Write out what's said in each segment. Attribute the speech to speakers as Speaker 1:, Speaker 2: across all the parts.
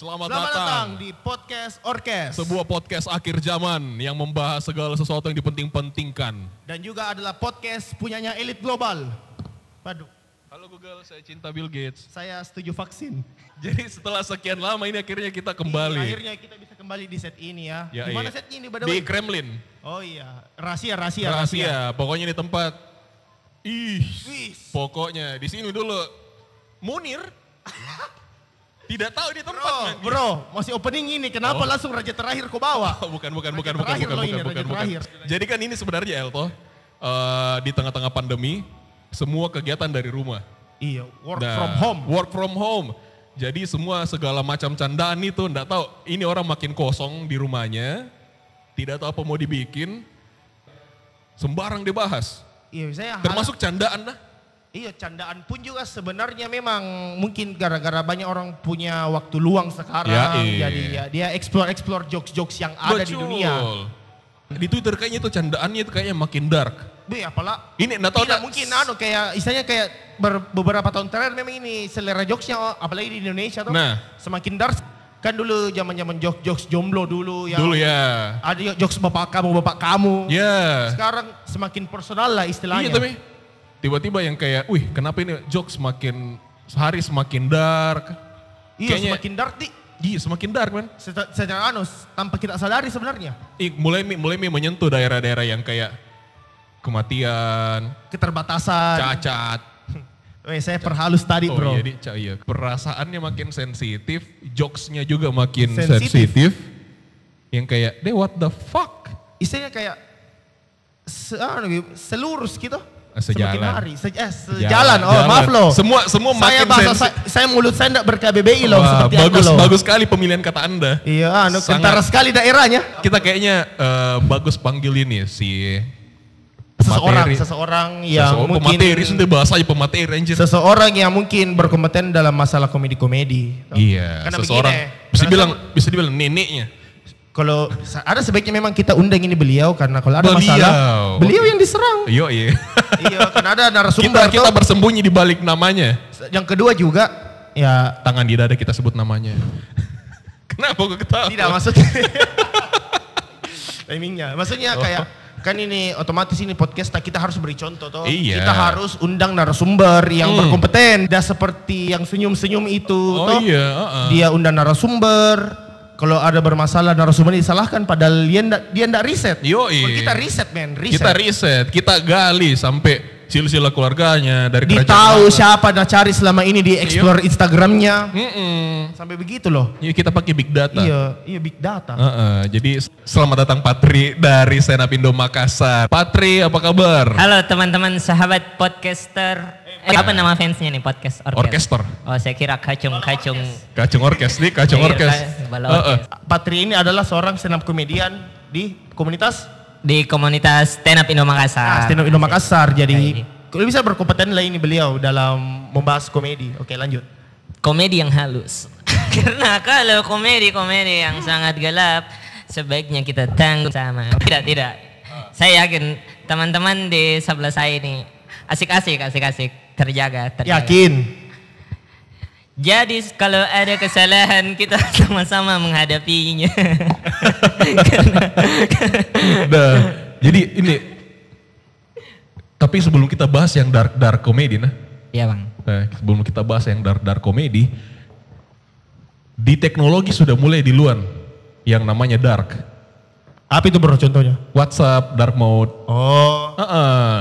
Speaker 1: Selamat,
Speaker 2: Selamat
Speaker 1: datang.
Speaker 2: datang di podcast Orkes
Speaker 1: sebuah podcast akhir zaman yang membahas segala sesuatu yang dipenting-pentingkan.
Speaker 2: dan juga adalah podcast punyanya elit global. Waduh,
Speaker 1: Halo Google, saya cinta Bill Gates.
Speaker 2: saya setuju vaksin.
Speaker 1: Jadi setelah sekian lama ini akhirnya kita kembali
Speaker 2: Iya, Akhirnya kita bisa kembali di set ini ya.
Speaker 1: Ya,
Speaker 2: di mana
Speaker 1: iya.
Speaker 2: set ini by the
Speaker 1: di
Speaker 2: way?
Speaker 1: Kremlin.
Speaker 2: Oh iya, rahasia rahasia rahasia.
Speaker 1: Rahasia, pokoknya di tempat. Ih,
Speaker 2: Wih,
Speaker 1: pokoknya di sini dulu. Munir tidak tahu di tempat.
Speaker 2: Bro,
Speaker 1: kan?
Speaker 2: bro, masih opening ini
Speaker 1: Oh.
Speaker 2: kenapa langsung raja terakhir kau bawa?
Speaker 1: Oh, bukan, bukan, bukan, bukan,
Speaker 2: Raja terakhir
Speaker 1: bukan,
Speaker 2: loh ini,
Speaker 1: bukan,
Speaker 2: raja
Speaker 1: bukan, bukan.
Speaker 2: terakhir.
Speaker 1: Jadi kan ini sebenarnya Elto, eh, di tengah-tengah pandemi, semua kegiatan dari rumah.
Speaker 2: Iya, work
Speaker 1: Nah,
Speaker 2: from home.
Speaker 1: Work from home. Jadi semua segala macam candaan itu enggak tahu ini orang makin kosong di rumahnya, tidak tahu apa mau dibikin, sembarang dibahas.
Speaker 2: Iya, saya hal-
Speaker 1: Termasuk candaan lah.
Speaker 2: Iya, candaan pun juga sebenarnya memang mungkin gara-gara banyak orang punya waktu luang sekarang.
Speaker 1: Ya, iya.
Speaker 2: Jadi ya, dia explore-explore jokes-jokes yang ada di
Speaker 1: Betul.
Speaker 2: dunia.
Speaker 1: Di Twitter kayaknya itu candaannya itu kayaknya makin dark.
Speaker 2: Be, apalah
Speaker 1: Ini enggak tahu enggak-
Speaker 2: tidak mungkin anu kayak istilahnya kayak ber- beberapa tahun terakhir memang ini selera jokesnya oh, apalagi di Indonesia tuh
Speaker 1: Nah.
Speaker 2: semakin dark. Kan dulu zaman-zaman jokes-jokes jomblo dulu yang
Speaker 1: Dulu ya.
Speaker 2: ada jokes bapak kamu, bapak kamu.
Speaker 1: Ya.
Speaker 2: Sekarang semakin personal lah istilahnya.
Speaker 1: Iya tapi tiba-tiba yang kayak, wih kenapa ini jokes makin sehari semakin dark.
Speaker 2: Iya,
Speaker 1: Kayaknya-
Speaker 2: semakin dark di
Speaker 1: Iya semakin dark man.
Speaker 2: seta- secara anu tanpa kita sadari sebenarnya
Speaker 1: Ih, mulai mulai menyentuh daerah-daerah yang kayak kematian,
Speaker 2: keterbatasan
Speaker 1: cacat.
Speaker 2: Weh, saya perhalus tadi
Speaker 1: Oh
Speaker 2: bro.
Speaker 1: iya, di- ca- iya. perasaannya makin sensitif, jokesnya juga makin
Speaker 2: Sensitif.
Speaker 1: sensitif. Yang kayak, deh what the fuck?
Speaker 2: Istilahnya kayak se anu, selurus gitu.
Speaker 1: Sejalan.
Speaker 2: Semakin hari. Se eh, sejalan. Oh
Speaker 1: Ya, Jalan.
Speaker 2: maaf loh.
Speaker 1: Semua semua
Speaker 2: saya
Speaker 1: makin
Speaker 2: bahasa
Speaker 1: sensi-
Speaker 2: saya, saya mulut saya enggak ber-KBBI loh
Speaker 1: Wah,
Speaker 2: seperti Anda
Speaker 1: bagus
Speaker 2: loh.
Speaker 1: bagus sekali pemilihan kata anda.
Speaker 2: Iya, anu
Speaker 1: Sangat.
Speaker 2: kentara sekali daerahnya.
Speaker 1: Kita kayaknya eh, bagus panggil ini si
Speaker 2: Seseorang,
Speaker 1: pemateri.
Speaker 2: seseorang yang
Speaker 1: Sese-
Speaker 2: Iya, mungkin
Speaker 1: pemateri sudah bahasa aja pemateri anjir.
Speaker 2: seseorang yang mungkin berkompeten dalam masalah komedi-komedi.
Speaker 1: Iya,
Speaker 2: Karena
Speaker 1: seseorang
Speaker 2: begini,
Speaker 1: bisa
Speaker 2: karena
Speaker 1: bilang bisa dibilang neneknya.
Speaker 2: Kalau sa- ada sebaiknya memang kita undang ini beliau karena kalau ada
Speaker 1: Beliau.
Speaker 2: masalah beliau yang diserang.
Speaker 1: Yo iya.
Speaker 2: iya, karena ada
Speaker 1: kita
Speaker 2: narasumber
Speaker 1: kita
Speaker 2: tuh.
Speaker 1: bersembunyi di balik namanya.
Speaker 2: Yang kedua juga ya
Speaker 1: Tangan di dada kita sebut namanya. Kenapa gue ketawa?
Speaker 2: Tidak maksudnya. Timingnya. Maksudnya
Speaker 1: Oh.
Speaker 2: kayak kan ini otomatis ini podcast nah kita harus beri contoh toh.
Speaker 1: Iya.
Speaker 2: Kita harus undang narasumber yang
Speaker 1: Hmm.
Speaker 2: berkompeten. Dah seperti yang senyum-senyum itu
Speaker 1: Oh
Speaker 2: toh.
Speaker 1: iya, uh-uh.
Speaker 2: Dia undang narasumber. Kalau ada bermasalah narasumber disalahkan padahal dia ndak dia ndak riset.
Speaker 1: Yoi.
Speaker 2: Kalau kita riset men,
Speaker 1: iya.
Speaker 2: riset.
Speaker 1: Kita riset, kita gali sampai silsilah keluarganya dari
Speaker 2: Ditahu
Speaker 1: kerajaan mana. Iya.
Speaker 2: siapa dah cari selama ini di explore Instagramnya
Speaker 1: Mm-mm.
Speaker 2: sampai begitu loh.
Speaker 1: Iya, kita pakai big data.
Speaker 2: Iya, iya big data.
Speaker 1: Uh-uh. Jadi selamat datang Patri dari Senap Indo Makassar. Patri apa kabar?
Speaker 3: Halo teman-teman sahabat podcaster. Eh, apa nama fansnya nih podcast orkes?
Speaker 1: Orkester.
Speaker 3: Oh saya kira kacung kacung.
Speaker 1: Kacung orkes nih, kacung
Speaker 3: Iya,
Speaker 1: orkes.
Speaker 3: kayak bala
Speaker 1: Uh-uh.
Speaker 3: orkes.
Speaker 2: Patri ini adalah seorang stand up komedian di komunitas
Speaker 3: Di komunitas stand up Indo
Speaker 2: Ah,
Speaker 3: Makassar.
Speaker 2: stand up Indo Makassar. Jadi
Speaker 3: Iya, iya.
Speaker 2: kalau bisa berkompeten lah ini beliau dalam membahas komedi. Oke, lanjut.
Speaker 3: Komedi yang halus. Karena kalau komedi komedi yang sangat gelap sebaiknya kita tanggung sama. Tidak tidak. Saya yakin teman-teman di sebelah saya ini asik-asik asik-asik terjaga terjaga.
Speaker 2: Yakin?
Speaker 3: Jadi kalau ada kesalahan kita sama-sama menghadapinya. Karena
Speaker 1: Nah, jadi ini. Tapi sebelum kita bahas yang dark dark comedy nah,
Speaker 3: Iya bang.
Speaker 1: nah, sebelum kita bahas yang dark dark comedy, di teknologi sudah mulai di luar yang namanya dark,
Speaker 2: Apa itu bro contohnya?
Speaker 1: WhatsApp, dark mode,
Speaker 2: Oh,
Speaker 1: Heeh.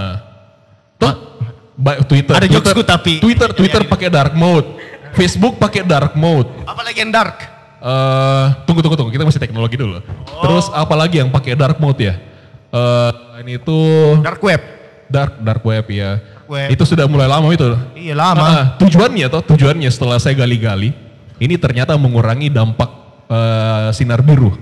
Speaker 1: Tuh, ba- Twitter,
Speaker 2: Ada
Speaker 1: Twitter,
Speaker 2: jokesku tapi. Iya,
Speaker 1: Twitter, Twitter pakai dark mode, Facebook pakai dark mode.
Speaker 2: apalagi yang dark?
Speaker 1: Eh, tunggu tunggu tunggu, kita masih teknologi
Speaker 2: Oh.
Speaker 1: dulu. Terus apalagi yang pakai dark mode ya? Eh, ini tuh
Speaker 2: Dark web.
Speaker 1: dark dark web ya.
Speaker 2: web.
Speaker 1: Itu sudah mulai lama itu.
Speaker 2: Iya lama.
Speaker 1: Ah, tujuannya toh tujuannya setelah saya gali-gali, ini ternyata mengurangi dampak eh, sinar biru,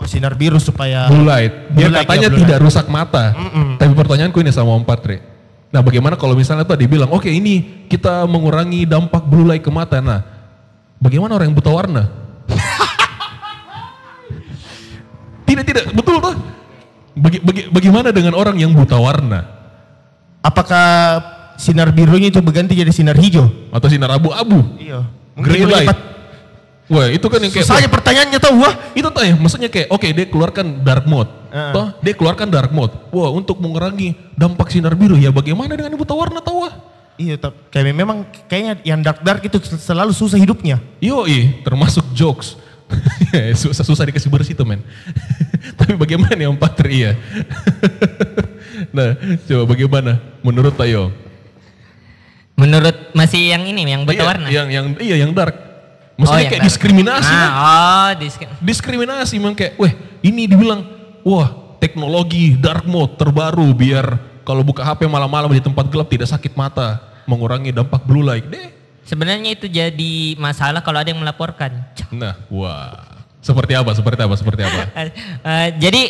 Speaker 2: Oh, sinar biru supaya
Speaker 1: blue light. Dia
Speaker 2: Blue light,
Speaker 1: katanya
Speaker 2: ya, blue
Speaker 1: tidak rusak mata. Tapi pertanyaanku ini sama Om Patri. Nah, bagaimana kalau misalnya tadi bilang, "Oke, ini kita mengurangi dampak blue light ke mata." Nah, bagaimana orang yang buta warna? tidak, tidak, betul toh? Baga- baga- bagaimana dengan orang yang buta warna
Speaker 2: apakah sinar birunya itu berganti jadi sinar hijau?
Speaker 1: atau sinar abu-abu?
Speaker 2: Iya.
Speaker 1: Green light. Wah itu kan yang kayak,
Speaker 2: Susahnya pertanyaannya tahu wah.
Speaker 1: wah, itu tanya, maksudnya kayak, oke dia keluarkan dark mode,
Speaker 2: Heeh.
Speaker 1: toh dia keluarkan dark mode. Wah untuk mengurangi dampak sinar biru ya bagaimana dengan ibu warna tahu wah?
Speaker 2: Iya, tapi kayak memang kayaknya yang dark-dark itu sel- selalu susah hidupnya.
Speaker 1: Yoi, termasuk jokes. Ya, susah susah dikasih bersih tuh men. Tapi bagaimana yang empat tri, ya? nah, coba bagaimana menurut Tayo?
Speaker 3: Menurut masih yang ini yang buta
Speaker 1: Iya,
Speaker 3: warna.
Speaker 1: Yang yang iya yang dark. Maksudnya
Speaker 3: yang
Speaker 1: kayak
Speaker 3: dark.
Speaker 1: diskriminasi. kan?
Speaker 3: Ah,
Speaker 1: men.
Speaker 3: oh, diskriminasi.
Speaker 1: Diskriminasi memang kayak, weh ini dibilang, wah teknologi dark mode terbaru biar kalau buka HP malam-malam di tempat gelap tidak sakit mata, mengurangi dampak blue light deh.
Speaker 3: Sebenarnya itu jadi masalah kalau ada yang melaporkan.
Speaker 1: Nah, wah. Seperti apa? Seperti apa? Seperti apa?
Speaker 3: Eh, eh, jadi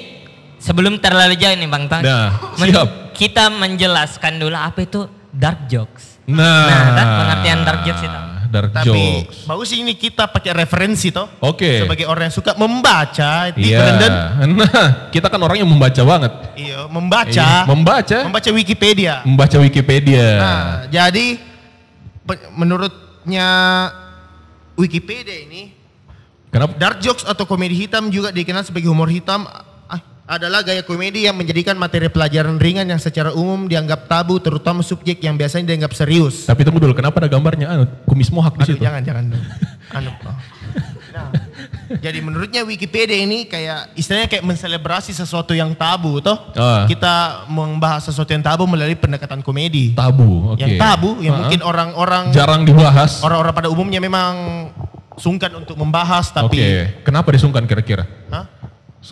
Speaker 3: sebelum terlalu jauh nih Bang Tong.
Speaker 1: Nah,
Speaker 3: men-
Speaker 1: siap.
Speaker 3: Kita menjelaskan dulu apa itu dark jokes.
Speaker 1: Nah,
Speaker 3: Nah, kan pengertian dark jokes itu.
Speaker 1: Dark
Speaker 2: Tapi
Speaker 1: jokes.
Speaker 2: bagus ini kita pakai referensi toh.
Speaker 1: Oke.
Speaker 2: Sebagai orang yang suka membaca di
Speaker 1: Iya.
Speaker 2: Brandon.
Speaker 1: Nah, kita kan orang yang membaca banget.
Speaker 2: Iya, membaca.
Speaker 1: Iya, membaca.
Speaker 2: Membaca Wikipedia.
Speaker 1: Membaca Wikipedia.
Speaker 2: Nah, jadi pe- menurutnya Wikipedia ini
Speaker 1: Kenapa?
Speaker 2: dark jokes atau komedi hitam juga dikenal sebagai humor hitam ah, adalah gaya komedi yang menjadikan materi pelajaran ringan yang secara umum dianggap tabu terutama subjek yang biasanya dianggap serius.
Speaker 1: Tapi tunggu dulu, kenapa ada gambarnya anu, kumis mohak di
Speaker 2: Aduh,
Speaker 1: situ?
Speaker 2: jangan jangan dong. Anu, oh. Nah, jadi menurutnya Wikipedia ini kayak istilahnya kayak menselebrasi sesuatu yang tabu toh.
Speaker 1: Ah.
Speaker 2: Kita membahas sesuatu yang tabu melalui pendekatan komedi.
Speaker 1: Tabu, oke. Ah.
Speaker 2: Yang tabu yang
Speaker 1: Ha-ha.
Speaker 2: mungkin orang-orang
Speaker 1: jarang dibahas.
Speaker 2: orang-orang pada umumnya memang sungkan untuk membahas
Speaker 1: Oke.
Speaker 2: tapi
Speaker 1: Kenapa disungkan kira-kira?
Speaker 2: Hah?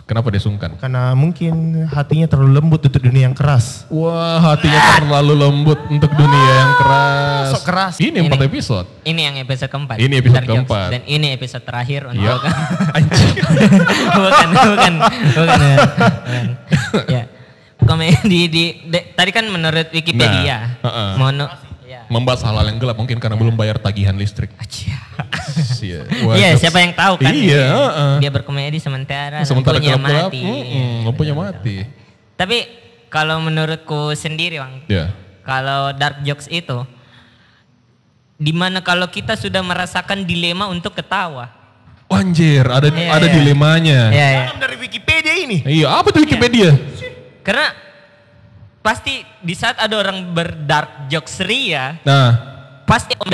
Speaker 1: Kenapa disungkan?
Speaker 2: karena mungkin hatinya terlalu lembut untuk dunia yang keras.
Speaker 1: Wah, hatinya terlalu lembut untuk dunia yang keras.
Speaker 2: Sok keras.
Speaker 1: Ini empat episode.
Speaker 3: Ini yang episode keempat.
Speaker 1: Ini episode
Speaker 3: Dark jokes.
Speaker 1: keempat.
Speaker 3: Dan ini episode terakhir untuk
Speaker 1: Iya. Anjing.
Speaker 3: bukan, bukan, bukan, bukan. Ya. Komedi di de- tadi kan menurut Wikipedia.
Speaker 1: Nah, uh-uh.
Speaker 3: Mono. Ya.
Speaker 1: Membahas hal-hal yang gelap mungkin karena belum bayar tagihan listrik.
Speaker 3: Acia.
Speaker 1: Iya,
Speaker 3: Iya, siapa yang tahu kan?
Speaker 1: Iya, heeh.
Speaker 3: Dia berkomedi sementara,
Speaker 1: sementara
Speaker 3: lampunya
Speaker 1: gelap-gelap,
Speaker 3: mati.
Speaker 1: mm-mm, lampunya mati.
Speaker 3: Tapi kalau menurutku sendiri, Bang,
Speaker 1: Ya.
Speaker 3: kalau dark jokes itu dimana kalau kita sudah merasakan dilema untuk ketawa.
Speaker 1: Oh, Anjir, ada
Speaker 3: Iya,
Speaker 1: ada
Speaker 3: iya.
Speaker 1: dilemanya.
Speaker 3: Ya, ya.
Speaker 2: Dalam dari Wikipedia ini.
Speaker 1: Iya, apa tuh Wikipedia?
Speaker 3: Karena pasti di saat ada orang berdark jokes ria,
Speaker 1: Nah,
Speaker 3: pasti om-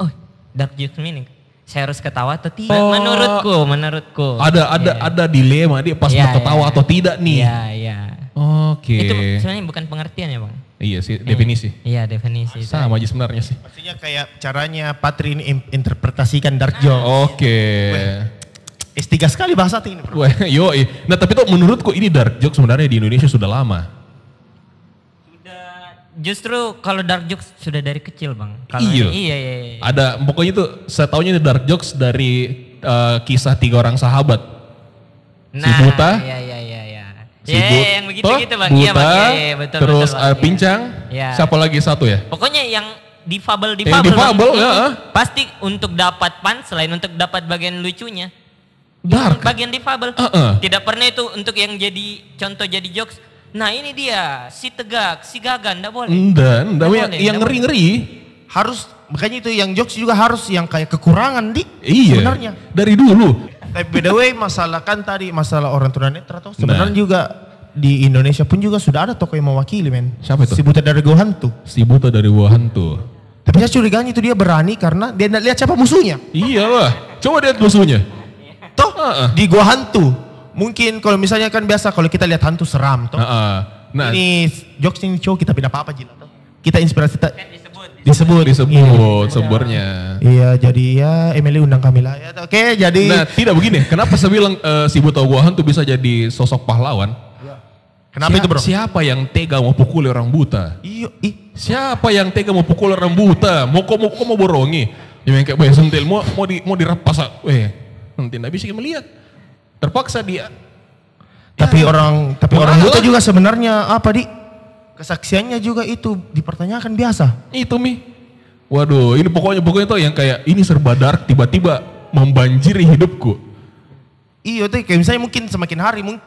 Speaker 3: oh dark jokes ini saya harus ketawa atau tidak?
Speaker 1: Oh.
Speaker 3: Menurutku, menurutku.
Speaker 1: ada ada ada dilema dia pas
Speaker 3: Iya,
Speaker 1: mau ketawa
Speaker 3: iya.
Speaker 1: atau tidak nih.
Speaker 3: Iya, iya.
Speaker 1: Oke.
Speaker 3: Itu sebenarnya bukan pengertian ya, Bang.
Speaker 1: Iya sih, definisi.
Speaker 3: Iya, definisi. itu.
Speaker 1: Sama aja sebenarnya
Speaker 3: Nah.
Speaker 1: sih.
Speaker 2: Maksudnya kayak caranya Patri ini im- interpretasikan dark joke.
Speaker 1: Oke.
Speaker 2: S3 sekali bahasa hati ini bro.
Speaker 1: Wah, yoi. Nah, tapi tuh menurutku ini dark joke sebenarnya di Indonesia sudah lama.
Speaker 3: Sudah justru kalau dark jokes sudah dari kecil, Bang. Kalau
Speaker 1: Iya.
Speaker 3: iya, iya. iya.
Speaker 1: Ada pokoknya itu saya taunya itu dark jokes dari eh, kisah tiga orang sahabat. Si Buta.
Speaker 3: Iya, iya, iya, iya.
Speaker 1: Si
Speaker 3: Iya,
Speaker 1: Bu-
Speaker 3: iya, yang begitu-gitu,
Speaker 1: Toh,
Speaker 3: Bang. Iya, Bang. Iya, iya, betul,
Speaker 1: terus
Speaker 3: betul,
Speaker 1: eh,
Speaker 3: Bang. Iya.
Speaker 1: Pincang,
Speaker 3: Iya.
Speaker 1: siapa lagi satu ya?
Speaker 3: Pokoknya yang di fabel di
Speaker 1: Yang
Speaker 3: fabel.
Speaker 1: difabel, ya, ah.
Speaker 3: Pasti untuk dapat pan selain untuk dapat bagian lucunya.
Speaker 1: Dark.
Speaker 3: Bagian di fabel.
Speaker 1: Uh-uh.
Speaker 3: Tidak pernah itu untuk yang jadi contoh jadi jokes. Nah, ini dia si tegak, si gagan, enggak boleh.
Speaker 1: Enggak, enggak, yang,
Speaker 3: Nggak boleh,
Speaker 1: yang
Speaker 3: nggak
Speaker 1: ngeri-ngeri.
Speaker 2: Harus makanya itu yang jokes juga harus yang kayak kekurangan di
Speaker 1: Iya.
Speaker 2: sebenarnya.
Speaker 1: Dari dulu.
Speaker 2: Tapi by the way masalah kan tadi masalah orang tunanetra
Speaker 1: Nah.
Speaker 2: toh sebenarnya juga di Indonesia pun juga sudah ada tokoh yang mewakili men.
Speaker 1: Siapa itu?
Speaker 2: Si Buta dari Go Hantu.
Speaker 1: Si buta dari buah hantu.
Speaker 2: Tapi saya curiganya itu dia berani karena dia tidak lihat siapa musuhnya.
Speaker 1: Iya lah. Coba lihat musuhnya. Ah,
Speaker 2: Toh
Speaker 1: Heeh.
Speaker 2: di Go Hantu. Mungkin kalau misalnya kan biasa kalau kita lihat hantu seram toh.
Speaker 1: Heeh. Nah,
Speaker 2: Ini jokes ini show kita pindah apa-apa Jila toh. Kita inspirasi ta-
Speaker 1: Hmm.
Speaker 3: Disebut.
Speaker 1: disebut disebut sebenarnya.
Speaker 2: Iya jadi ya Emily undang kami lah. Ya, Oke jadi
Speaker 1: Nah, tidak begini. Kenapa saya bilang eh, si buta buah hantu bisa jadi sosok pahlawan?
Speaker 2: kenapa
Speaker 1: Sia-
Speaker 2: itu bro?
Speaker 1: Siapa yang tega mau pukul orang buta?
Speaker 2: Iya, ih,
Speaker 1: Siapa yang tega mau pukul orang buta? Mau kok mau, kok mau borongi? Ya yang kayak "Weh, sentil mau mau di mau direpas. ah." Weh, nanti enggak bisa melihat. Terpaksa dia.
Speaker 2: Tapi orang tapi orang
Speaker 1: Kenapa?
Speaker 2: buta juga sebenarnya apa di kesaksiannya juga itu dipertanyakan biasa.
Speaker 1: Itu Mi. Waduh, ini pokoknya pokoknya tuh yang kayak ini serba dark tiba-tiba membanjiri hidupku.
Speaker 2: Iya tuh kayak misalnya mungkin semakin hari mungkin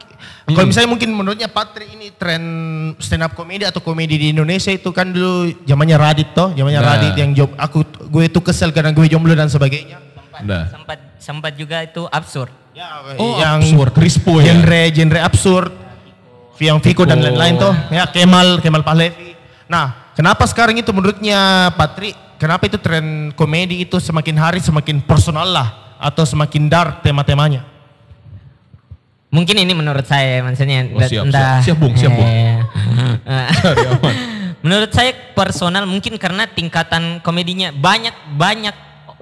Speaker 2: kalau misalnya mungkin menurutnya Patri ini tren stand up komedi atau komedi di Indonesia itu kan dulu zamannya Radit toh, zamannya
Speaker 1: Nah.
Speaker 2: Radit yang job aku gue tuh kesel karena gue jomblo dan sebagainya. Ya,
Speaker 1: Nah.
Speaker 3: Sempat sempat juga itu absurd.
Speaker 1: Oh,
Speaker 2: yang
Speaker 1: absurd. Rispo ya?
Speaker 2: genre genre absurd yang Viko dan
Speaker 1: Viko.
Speaker 2: lain-lain tuh ya Kemal Kemal Pahlevi nah kenapa sekarang itu menurutnya Patri kenapa itu tren komedi itu semakin hari semakin personal lah atau semakin dark tema-temanya
Speaker 3: Mungkin ini menurut saya maksudnya
Speaker 1: Oh, siap, siap. Siap, Bung, siap, Bung.
Speaker 3: Eh, eh.
Speaker 1: Cari aman.
Speaker 3: menurut saya personal mungkin karena tingkatan komedinya banyak banyak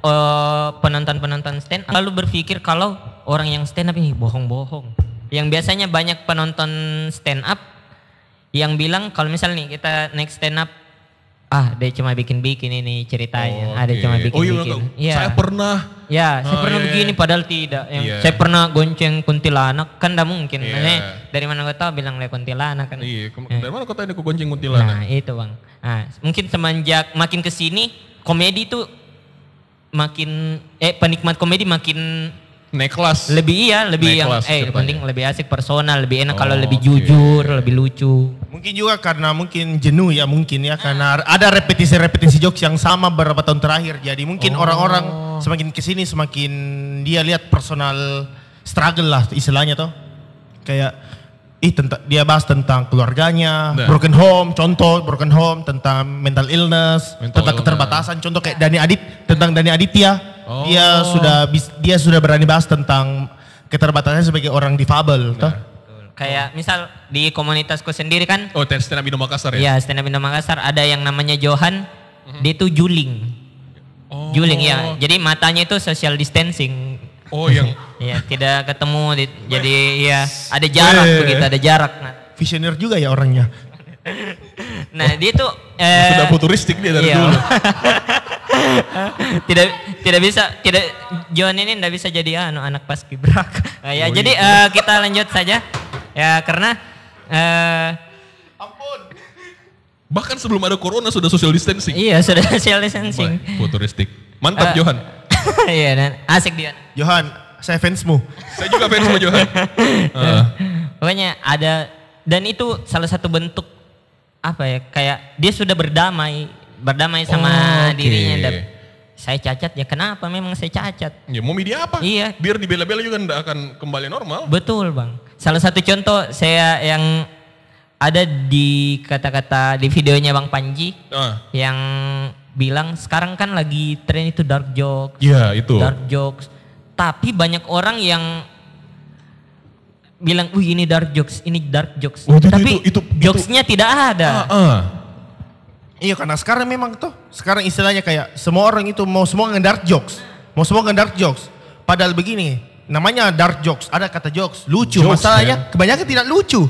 Speaker 3: eh, penonton-penonton stand up lalu berpikir kalau orang yang stand up ini bohong-bohong. Yang biasanya banyak penonton stand up yang bilang kalau misalnya nih kita next stand up ah dia cuma bikin-bikin ini ceritanya. ada
Speaker 1: Oke.
Speaker 3: cuma
Speaker 1: Oh iya,
Speaker 3: bikin-bikin. Iya.
Speaker 1: saya pernah
Speaker 3: Ya, saya
Speaker 1: Oh, iya,
Speaker 3: pernah begini
Speaker 1: iya.
Speaker 3: padahal tidak. Yang
Speaker 1: Iya.
Speaker 3: Saya pernah gonceng kuntilanak kan tidak mungkin.
Speaker 1: Iya.
Speaker 3: Maksudnya, dari mana gue tahu bilang lihat kuntilanak kan.
Speaker 1: Iya, kan. kem- dari mana kota ini aku gonceng kuntilanak?
Speaker 3: Nah itu bang. Nah, mungkin semenjak makin kesini komedi tuh makin eh penikmat komedi makin
Speaker 1: Naik kelas.
Speaker 3: lebih iya lebih
Speaker 1: Naik
Speaker 3: yang
Speaker 1: kelas
Speaker 3: eh
Speaker 1: ceritanya.
Speaker 3: penting lebih asik personal lebih enak
Speaker 1: Oh,
Speaker 3: kalau lebih
Speaker 1: oke.
Speaker 3: jujur lebih lucu
Speaker 2: mungkin juga karena mungkin jenuh ya mungkin ya karena ada repetisi-repetisi jokes yang sama beberapa tahun terakhir jadi mungkin
Speaker 1: Oh.
Speaker 2: orang-orang semakin kesini semakin dia lihat personal struggle lah istilahnya toh kayak ih tentang dia bahas tentang keluarganya
Speaker 1: Nah.
Speaker 2: broken home contoh broken home tentang mental illness
Speaker 1: Mental
Speaker 2: tentang
Speaker 1: illness.
Speaker 2: keterbatasan contoh kayak Dani Adit tentang Dani Aditya
Speaker 1: Oh.
Speaker 2: dia sudah bis- dia sudah berani bahas tentang keterbatasannya sebagai orang difabel toh
Speaker 1: Nah.
Speaker 3: kayak misal di komunitasku sendiri kan
Speaker 1: Oh, stand stand up Indo Makassar ya?
Speaker 3: ya stand up Indo Makassar ada yang namanya Johan
Speaker 1: Mhm.
Speaker 3: dia tuh juling
Speaker 1: Oh.
Speaker 3: Juling ya. Jadi matanya itu social distancing.
Speaker 1: Oh, yang
Speaker 3: Ya, tidak ketemu di- jadi ya ada jarak
Speaker 2: Weh.
Speaker 3: begitu, ada jarak. Nah,
Speaker 2: visioner juga ya orangnya
Speaker 3: nah dia tuh eh,
Speaker 1: sudah futuristik dia dari
Speaker 3: iya.
Speaker 1: dulu.
Speaker 3: tidak tidak bisa tidak John ini tidak bisa jadi anu anak paskibraka. Nah, ya,
Speaker 1: Oh,
Speaker 3: jadi eh, kita lanjut saja. Ya, karena eh,
Speaker 1: Bahkan sebelum ada corona sudah social distancing.
Speaker 3: iya sudah social distancing.
Speaker 1: Wah, Futuristik. Mantap
Speaker 3: Eh.
Speaker 1: Johan.
Speaker 3: Iya, dan asik dia.
Speaker 2: Johan, saya fansmu.
Speaker 1: Saya juga fans sama Johan. Eh,
Speaker 3: Pokoknya ada dan itu salah satu bentuk apa ya kayak dia sudah berdamai berdamai sama
Speaker 1: Oh, oke.
Speaker 3: dirinya dan saya cacat ya kenapa memang saya cacat
Speaker 1: ya mau media apa?
Speaker 3: Iya.
Speaker 1: Biar dibela-bela juga ndak akan kembali normal.
Speaker 3: betul bang salah satu contoh saya yang ada di kata-kata di videonya bang Panji
Speaker 1: Nah,
Speaker 3: yang bilang sekarang kan lagi tren itu dark joke
Speaker 1: ya itu.
Speaker 3: dark jokes. Tapi banyak orang yang bilang, "Wih, ini dark jokes, ini dark jokes."
Speaker 1: Oh, itu-
Speaker 3: Tapi
Speaker 1: itu- itu-
Speaker 3: jokesnya tidak
Speaker 1: Ah,
Speaker 3: ada.
Speaker 1: ah.
Speaker 2: Iya karena sekarang memang tuh, sekarang istilahnya kayak semua orang itu mau semua nge-dark jokes. Mau semua nge-dark jokes. Padahal begini, namanya dark jokes, ada kata jokes, ya. lucu.
Speaker 1: Jokes,
Speaker 2: Masalahnya kebanyakan tidak lucu.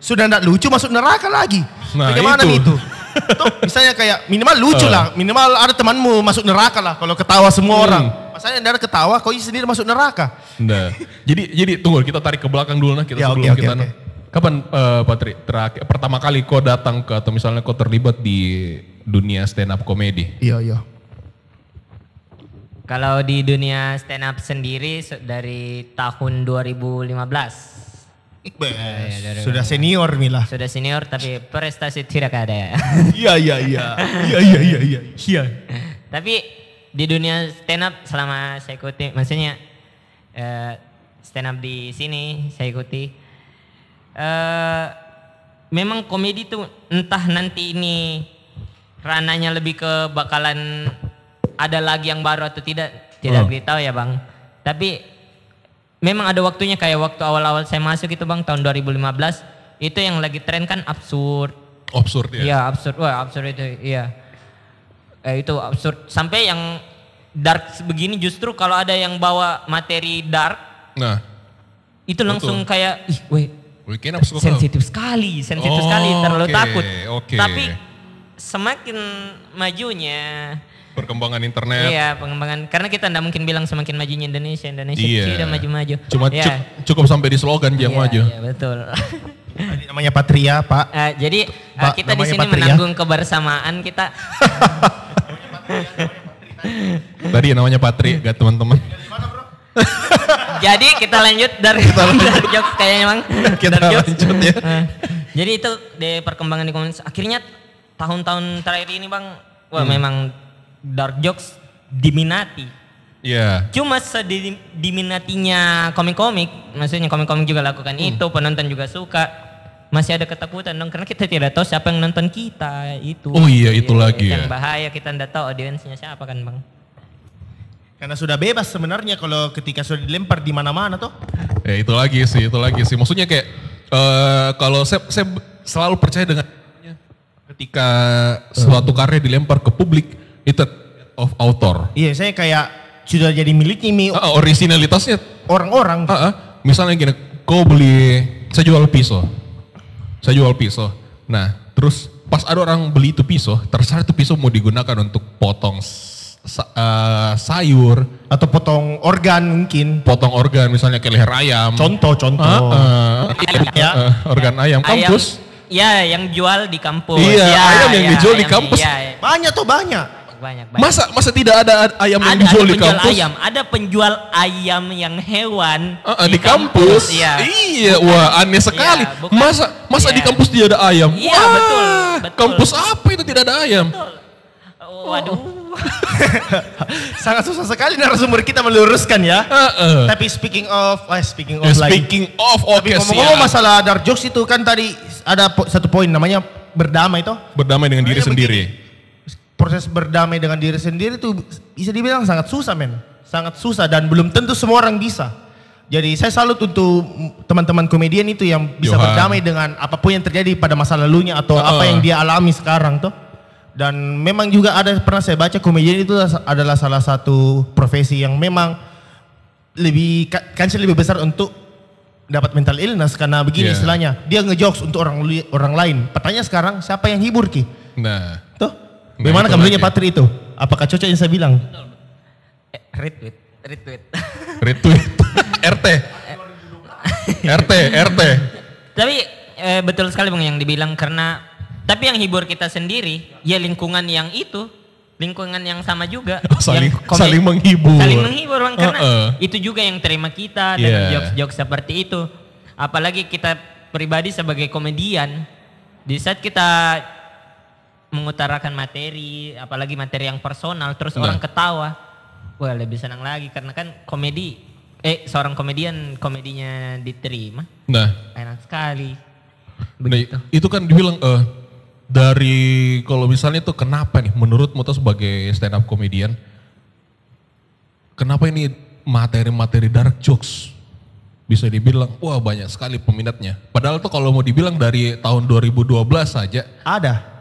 Speaker 2: Sudah tidak lucu masuk neraka lagi.
Speaker 1: Nah,
Speaker 2: Bagaimana
Speaker 1: itu.
Speaker 2: itu? Tuh, misalnya kayak minimal lucu
Speaker 1: Eh.
Speaker 2: lah, minimal ada temanmu masuk neraka lah kalau ketawa semua
Speaker 1: Hmm.
Speaker 2: orang. Masalahnya tidak ada ketawa, kau sendiri masuk neraka.
Speaker 1: Nah, jadi jadi tunggu kita tarik ke belakang dulu nah kita
Speaker 2: Ya,
Speaker 1: sebelum
Speaker 2: oke, oke,
Speaker 1: kita.
Speaker 2: oke.
Speaker 1: Kapan eh, Patri terakhir pertama kali kau datang ke atau misalnya kau terlibat di dunia stand up komedi?
Speaker 2: Iya, iya.
Speaker 3: Kalau di dunia stand up sendiri se- dari tahun 2015
Speaker 2: Sudah senior Mila.
Speaker 3: sudah senior tapi prestasi tidak ada.
Speaker 2: Iya, iya, iya. Iya, iya, iya, iya. Iya.
Speaker 3: tapi di dunia stand up selama saya ikuti, maksudnya eh, stand up di sini saya ikuti. eh memang komedi tuh entah nanti ini rananya lebih ke bakalan ada lagi yang baru atau tidak tidak
Speaker 1: Hmm.
Speaker 3: beritahu ya bang tapi memang ada waktunya kayak waktu awal-awal saya masuk itu bang tahun 2015 itu yang lagi tren kan absurd
Speaker 1: Absurd ya.
Speaker 3: Iya absurd, wah absurd itu, iya. Eh, itu absurd. Sampai yang dark begini justru kalau ada yang bawa materi dark
Speaker 1: Nah,
Speaker 3: itu langsung kayak, ih, weh,
Speaker 1: weekend absurd.
Speaker 3: sensitif sekali, sensitif
Speaker 1: Oh,
Speaker 3: sekali, terlalu
Speaker 1: oke,
Speaker 3: takut.
Speaker 1: oke.
Speaker 3: Tapi semakin majunya,
Speaker 1: Perkembangan internet.
Speaker 3: iya pengembangan, karena kita tidak mungkin bilang semakin majunya Indonesia, Indonesia
Speaker 1: Iya.
Speaker 3: sudah maju-maju.
Speaker 1: Cuma
Speaker 3: Iya,
Speaker 1: cuk- cukup sampai di slogan dia
Speaker 3: iya,
Speaker 1: mau aja.
Speaker 3: iya, betul.
Speaker 2: Tadi namanya Patria, Pak.
Speaker 3: Eh, jadi eh,
Speaker 2: Pak,
Speaker 3: kita di
Speaker 2: namanya
Speaker 3: sini
Speaker 2: Patria.
Speaker 3: menanggung kebersamaan kita.
Speaker 1: Tadi yang namanya Patri, gak teman-teman.
Speaker 3: jadi kita lanjut dari dari jokes kayaknya Bang.
Speaker 1: Kita
Speaker 3: Dari jokes.
Speaker 1: lanjut ya.
Speaker 3: Eh, jadi itu di perkembangan di komunitas. Akhirnya
Speaker 1: Hmm.
Speaker 3: tahun-tahun terakhir ini Bang, wah memang dark jokes diminati.
Speaker 1: Iya.
Speaker 3: Cuma sedi- diminatinya komik-komik, maksudnya komik-komik juga lakukan
Speaker 1: Hmm.
Speaker 3: itu, penonton juga suka. Masih ada ketakutan dong, karena kita tidak tahu siapa yang nonton kita itu.
Speaker 1: Oh iya, itu lagi
Speaker 3: Yang
Speaker 1: ya.
Speaker 3: bahaya kita tidak tahu audiensnya siapa kan bang.
Speaker 2: Karena sudah bebas sebenarnya kalau ketika sudah dilempar di mana-mana toh.
Speaker 1: Ya itu lagi sih, itu lagi sih. Maksudnya kayak eh kalau saya, saya selalu percaya dengan ketika suatu karya dilempar ke publik itu of author.
Speaker 2: Iya, saya kayak sudah jadi miliknya mi
Speaker 1: Ah, originalitasnya
Speaker 2: orang-orang.
Speaker 1: Ah, ah. misalnya gini, kau beli, saya jual pisau, saya jual pisau. Nah, terus pas ada orang beli itu pisau, terserah itu pisau mau digunakan untuk potong s- sa- eh, sayur,
Speaker 2: atau potong organ mungkin.
Speaker 1: potong organ misalnya kayak leher ayam,
Speaker 2: Contoh-contoh.
Speaker 1: Ah, ah.
Speaker 2: Ya.
Speaker 1: Eh, organ ayam kampus.
Speaker 3: Ayam, ya, yang jual di kampus.
Speaker 1: Iya,
Speaker 3: Ya,
Speaker 1: ayam yang
Speaker 3: ya,
Speaker 1: dijual di
Speaker 3: ayam-
Speaker 1: kampus.
Speaker 3: Iya, iya.
Speaker 2: Banyak toh banyak.
Speaker 3: banyak banyak.
Speaker 1: Masa masa tidak ada ad- ayam yang
Speaker 3: ada,
Speaker 1: dijual
Speaker 3: ada
Speaker 1: di
Speaker 3: penjual
Speaker 1: kampus?
Speaker 3: ayam, ada penjual ayam yang hewan
Speaker 1: Ah, ah, di kampus.
Speaker 3: Iya.
Speaker 1: Iya, wah aneh sekali.
Speaker 3: Iya, bukan.
Speaker 1: masa masa di
Speaker 3: Iya.
Speaker 1: kampus tidak ada ayam?
Speaker 3: Iya,
Speaker 1: Wah,
Speaker 3: betul, betul.
Speaker 1: Kampus apa itu tidak ada ayam?
Speaker 3: Oh, Waduh.
Speaker 2: Sangat susah sekali narasumber kita meluruskan ya.
Speaker 1: Heeh.
Speaker 2: Tapi speaking of, eh speaking of
Speaker 1: Ya,
Speaker 2: lagi.
Speaker 1: speaking of, ya, oke
Speaker 2: Tapi ngomong-ngomong
Speaker 1: siap.
Speaker 2: masalah dark jokes itu kan tadi ada po- satu poin namanya berdamai toh.
Speaker 1: Berdamai dengan diri
Speaker 2: Makanya
Speaker 1: sendiri.
Speaker 2: Proses berdamai dengan diri sendiri itu bisa dibilang sangat susah men. Sangat susah dan belum tentu semua orang bisa. Jadi saya salut untuk teman-teman komedian itu yang bisa
Speaker 1: Johan.
Speaker 2: berdamai dengan apapun yang terjadi pada masa lalunya atau apa
Speaker 1: Heeh.
Speaker 2: yang dia alami sekarang tuh. Dan memang juga ada pernah saya baca komedian itu adalah salah satu profesi yang memang lebih ka- kansnya lebih besar untuk dapat mental illness karena begini
Speaker 1: Iya.
Speaker 2: istilahnya dia ngejokes untuk orang li- orang lain. Pertanyaan sekarang siapa yang hibur ki?
Speaker 1: Nah, Nah,
Speaker 2: Tuh, bagaimana
Speaker 1: itu
Speaker 2: kabarnya
Speaker 1: lagi.
Speaker 2: Patri itu? Apakah cocok yang saya bilang?
Speaker 3: Eh, retweet, retweet.
Speaker 1: retweet RT. RT, RT.
Speaker 3: tapi eh, betul sekali Bang yang dibilang karena tapi yang hibur kita sendiri ya lingkungan yang itu, lingkungan yang sama juga
Speaker 1: Saling
Speaker 3: yang kome-
Speaker 1: saling menghibur.
Speaker 3: Saling menghibur Bang karena
Speaker 1: Heeh.
Speaker 3: itu juga yang terima kita
Speaker 1: Iya.
Speaker 3: dan jokes-jokes seperti itu. Apalagi kita pribadi sebagai komedian di saat kita mengutarakan materi, apalagi materi yang personal terus
Speaker 1: Nah.
Speaker 3: orang ketawa. Wah, lebih senang lagi karena kan komedi eh seorang komedian komedinya diterima.
Speaker 1: Nah,
Speaker 3: Enak sekali.
Speaker 1: nah,
Speaker 3: Begitu.
Speaker 1: itu kan dibilang eh dari kalau misalnya itu kenapa nih menurutmu tuh sebagai stand up comedian kenapa ini materi-materi dark jokes bisa dibilang wah banyak sekali peminatnya. Padahal tuh kalau mau dibilang dari tahun 2012 saja
Speaker 2: Ada.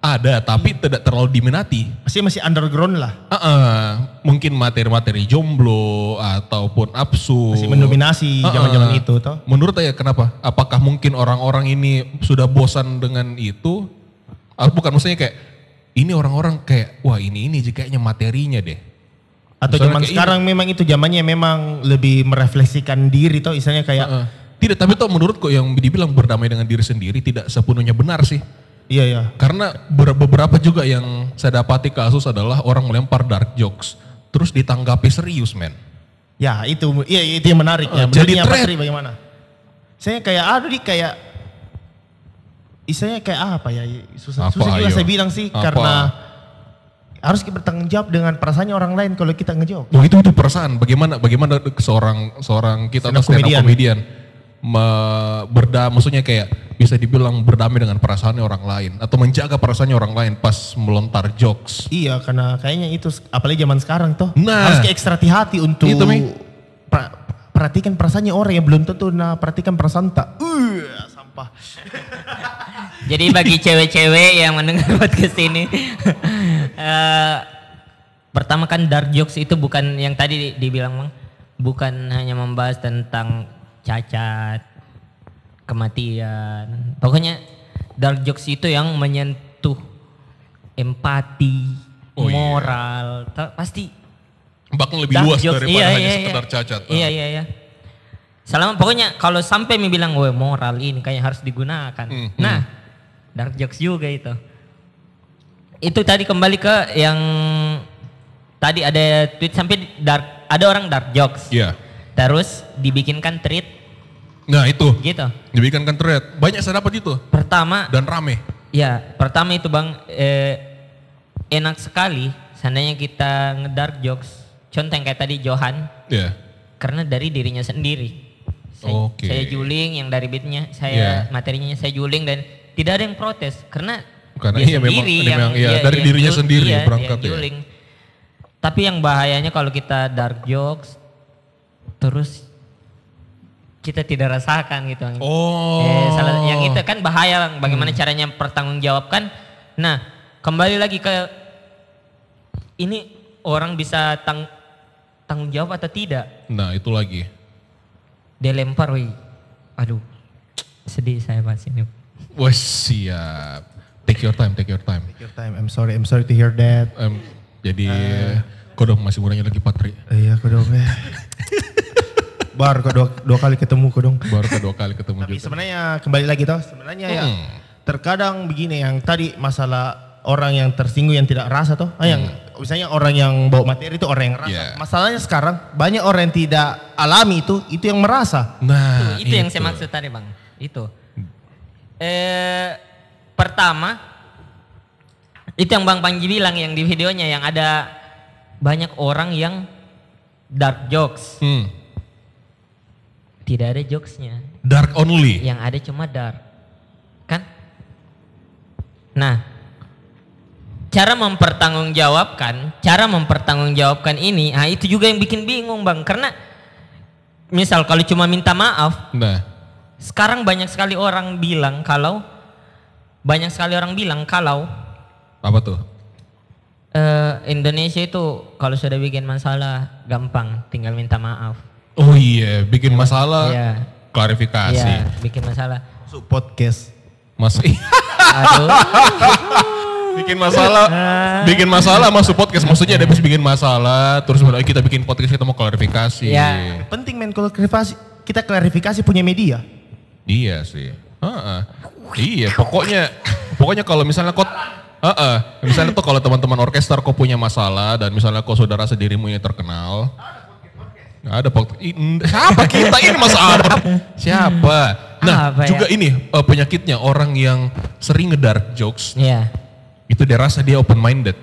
Speaker 1: ada tapi tidak terlalu diminati.
Speaker 2: Masih masih underground lah.
Speaker 1: Heeh, mungkin materi-materi jomblo ataupun absurd.
Speaker 2: Masih mendominasi
Speaker 1: Heeh.
Speaker 2: zaman-zaman itu toh.
Speaker 1: Menurut saya kenapa? Apakah mungkin orang-orang ini sudah bosan dengan itu? Ah, bukan maksudnya kayak ini orang-orang kayak wah ini ini aja kayaknya materinya deh.
Speaker 2: Atau
Speaker 1: Misalnya
Speaker 2: zaman
Speaker 1: kayak
Speaker 2: sekarang memang itu zamannya memang lebih merefleksikan diri toh istilahnya kayak
Speaker 1: Heeh. Tidak, tapi tuh menurutku yang dibilang berdamai dengan diri sendiri tidak sepenuhnya benar sih.
Speaker 2: iya iya.
Speaker 1: Karena ber- beberapa juga yang saya dapati kasus adalah orang melempar dark jokes terus ditanggapi serius, men.
Speaker 2: Ya itu iya itu yang menarik
Speaker 1: Eh,
Speaker 2: ya.
Speaker 1: jadi
Speaker 2: Menurutnya
Speaker 1: thread.
Speaker 2: Patri bagaimana? Saya kayak aduh di kayak istilahnya kayak apa ya susah
Speaker 1: Apa,
Speaker 2: susah juga
Speaker 1: ayo?
Speaker 2: saya bilang sih
Speaker 1: Apa?
Speaker 2: karena harus kita bertanggung jawab dengan perasaannya orang lain kalau kita ngejok.
Speaker 1: Wah Oh, itu itu perasaan. Bagaimana bagaimana seorang seorang kita atau
Speaker 2: Stand-up
Speaker 1: stand up
Speaker 2: comedian.
Speaker 1: comedian me- berda maksudnya kayak bisa dibilang berdamai dengan perasaannya orang lain atau menjaga perasaannya orang lain pas melontar jokes.
Speaker 2: Iya karena kayaknya itu apalagi zaman sekarang toh
Speaker 1: Nah.
Speaker 2: harus kayak ekstra hati untuk
Speaker 1: Itu, Mi.
Speaker 2: pra- perhatikan perasaannya orang yang belum tentu nah perhatikan perasaan tak. Uh, sampah.
Speaker 3: Jadi bagi cewek-cewek yang mendengar podcast ini, eh, pertama kan dark jokes itu bukan yang tadi di- dibilang bang, bukan hanya membahas tentang cacat, kematian. Pokoknya dark jokes itu yang menyentuh empati,
Speaker 1: Oh iya.
Speaker 3: moral, Ta- pasti
Speaker 1: Bahkan lebih
Speaker 3: Dark
Speaker 1: luas
Speaker 3: jokes,
Speaker 1: daripada
Speaker 3: iya,
Speaker 1: hanya
Speaker 3: iya,
Speaker 1: sekedar
Speaker 3: iya.
Speaker 1: cacat.
Speaker 3: Iya iya iya. Selama pokoknya kalau sampai mi bilang, "Wah, moral ini kayaknya harus digunakan."
Speaker 1: Hmm,
Speaker 3: Nah, dark jokes juga itu. Itu tadi kembali ke yang tadi ada tweet sampai dark ada orang dark jokes.
Speaker 1: Iya.
Speaker 3: Terus dibikinkan tweet
Speaker 1: Nah itu
Speaker 3: gitu.
Speaker 1: dibikin kan thread. Banyak saya dapat itu
Speaker 3: Pertama
Speaker 1: dan rame.
Speaker 3: Ya, pertama itu bang eh, enak sekali. Seandainya kita ngedark jokes, contoh yang kayak tadi Johan
Speaker 1: Iya.
Speaker 3: karena dari dirinya sendiri. Saya,
Speaker 1: Oke. Iya.
Speaker 3: saya juling yang dari beatnya,
Speaker 1: Yeah.
Speaker 3: saya materinya saya juling dan tidak ada yang protes karena
Speaker 1: Karena
Speaker 3: dia
Speaker 1: iya memang-
Speaker 3: sendiri
Speaker 1: memang iya, dari
Speaker 3: yang
Speaker 1: dirinya
Speaker 3: jul-
Speaker 1: sendiri
Speaker 3: iya, dia
Speaker 1: berangkat ya.
Speaker 3: juling. Tapi yang bahayanya kalau kita dark jokes terus kita tidak rasakan gitu. Bang.
Speaker 1: Oh.
Speaker 3: Eh, salah- yang itu kan bahaya Bang. bagaimana caranya pertanggungjawabkan. Nah, kembali lagi ke ini orang bisa tang tanggung jawab atau tidak.
Speaker 1: Nah itu lagi.
Speaker 3: Dia lempar, wih. Aduh, sedih saya pas ini.
Speaker 1: Wah siap. Take your time, take your time.
Speaker 2: Take your time. I'm sorry, I'm sorry to hear that.
Speaker 1: Em, jadi
Speaker 3: Eh.
Speaker 1: kodok masih murahnya lagi Patri.
Speaker 2: Iya, kok dong ya. Bar kok dua, dua kali ketemu kok dong.
Speaker 1: Baru kedua kali ketemu
Speaker 2: Tapi
Speaker 1: juga.
Speaker 2: sebenarnya kembali lagi toh, sebenarnya ya
Speaker 1: Hmm.
Speaker 2: terkadang begini yang tadi masalah orang yang tersinggung yang tidak rasa toh, ah, yang misalnya orang yang bawa materi itu orang yang rasa.
Speaker 1: Hmm. Yeah.
Speaker 2: Masalahnya sekarang banyak orang yang tidak alami itu itu yang merasa.
Speaker 1: Nah
Speaker 3: itu, yang saya maksud tadi bang. Itu. Eh, pertama, itu yang Bang Panji bilang yang di videonya yang ada banyak orang yang dark jokes.
Speaker 1: Hmm.
Speaker 3: Tidak ada jokesnya.
Speaker 1: Dark only.
Speaker 3: yang ada cuma dark kan nah cara mempertanggungjawabkan cara mempertanggungjawabkan ini ah itu juga yang bikin bingung bang karena misal kalau cuma minta maaf
Speaker 1: Nah.
Speaker 3: sekarang banyak sekali orang bilang kalau banyak sekali orang bilang kalau
Speaker 1: Apa tuh?
Speaker 3: eh, Indonesia itu kalau sudah bikin masalah gampang tinggal minta maaf
Speaker 1: Oh iya, bikin masalah.
Speaker 3: Iya.
Speaker 1: Klarifikasi.
Speaker 3: Iya, bikin masalah
Speaker 2: Masuk podcast.
Speaker 1: Mas Iya,
Speaker 3: aduh
Speaker 1: bikin masalah,
Speaker 3: Ah.
Speaker 1: bikin masalah masuk podcast. Maksudnya ada habis bikin masalah, terus bilang, "Eh, kita bikin podcast kita mau klarifikasi.
Speaker 3: Iya.
Speaker 2: Penting men kalau klarifikasi kita klarifikasi punya media.
Speaker 1: Iya sih. Heeh. Iya, pokoknya pokoknya kalau misalnya kau Heeh, misalnya tuh kalau teman-teman orkester kau punya masalah dan misalnya kau saudara sendirimu ini terkenal. Nggak ada podcast. Ih, n- Siapa kita ini Mas Arab? Siapa? Nah,
Speaker 3: Apa ya?
Speaker 1: juga ini eh, penyakitnya orang yang sering ngedark jokes
Speaker 3: Iya.
Speaker 1: itu dia rasa dia open minded.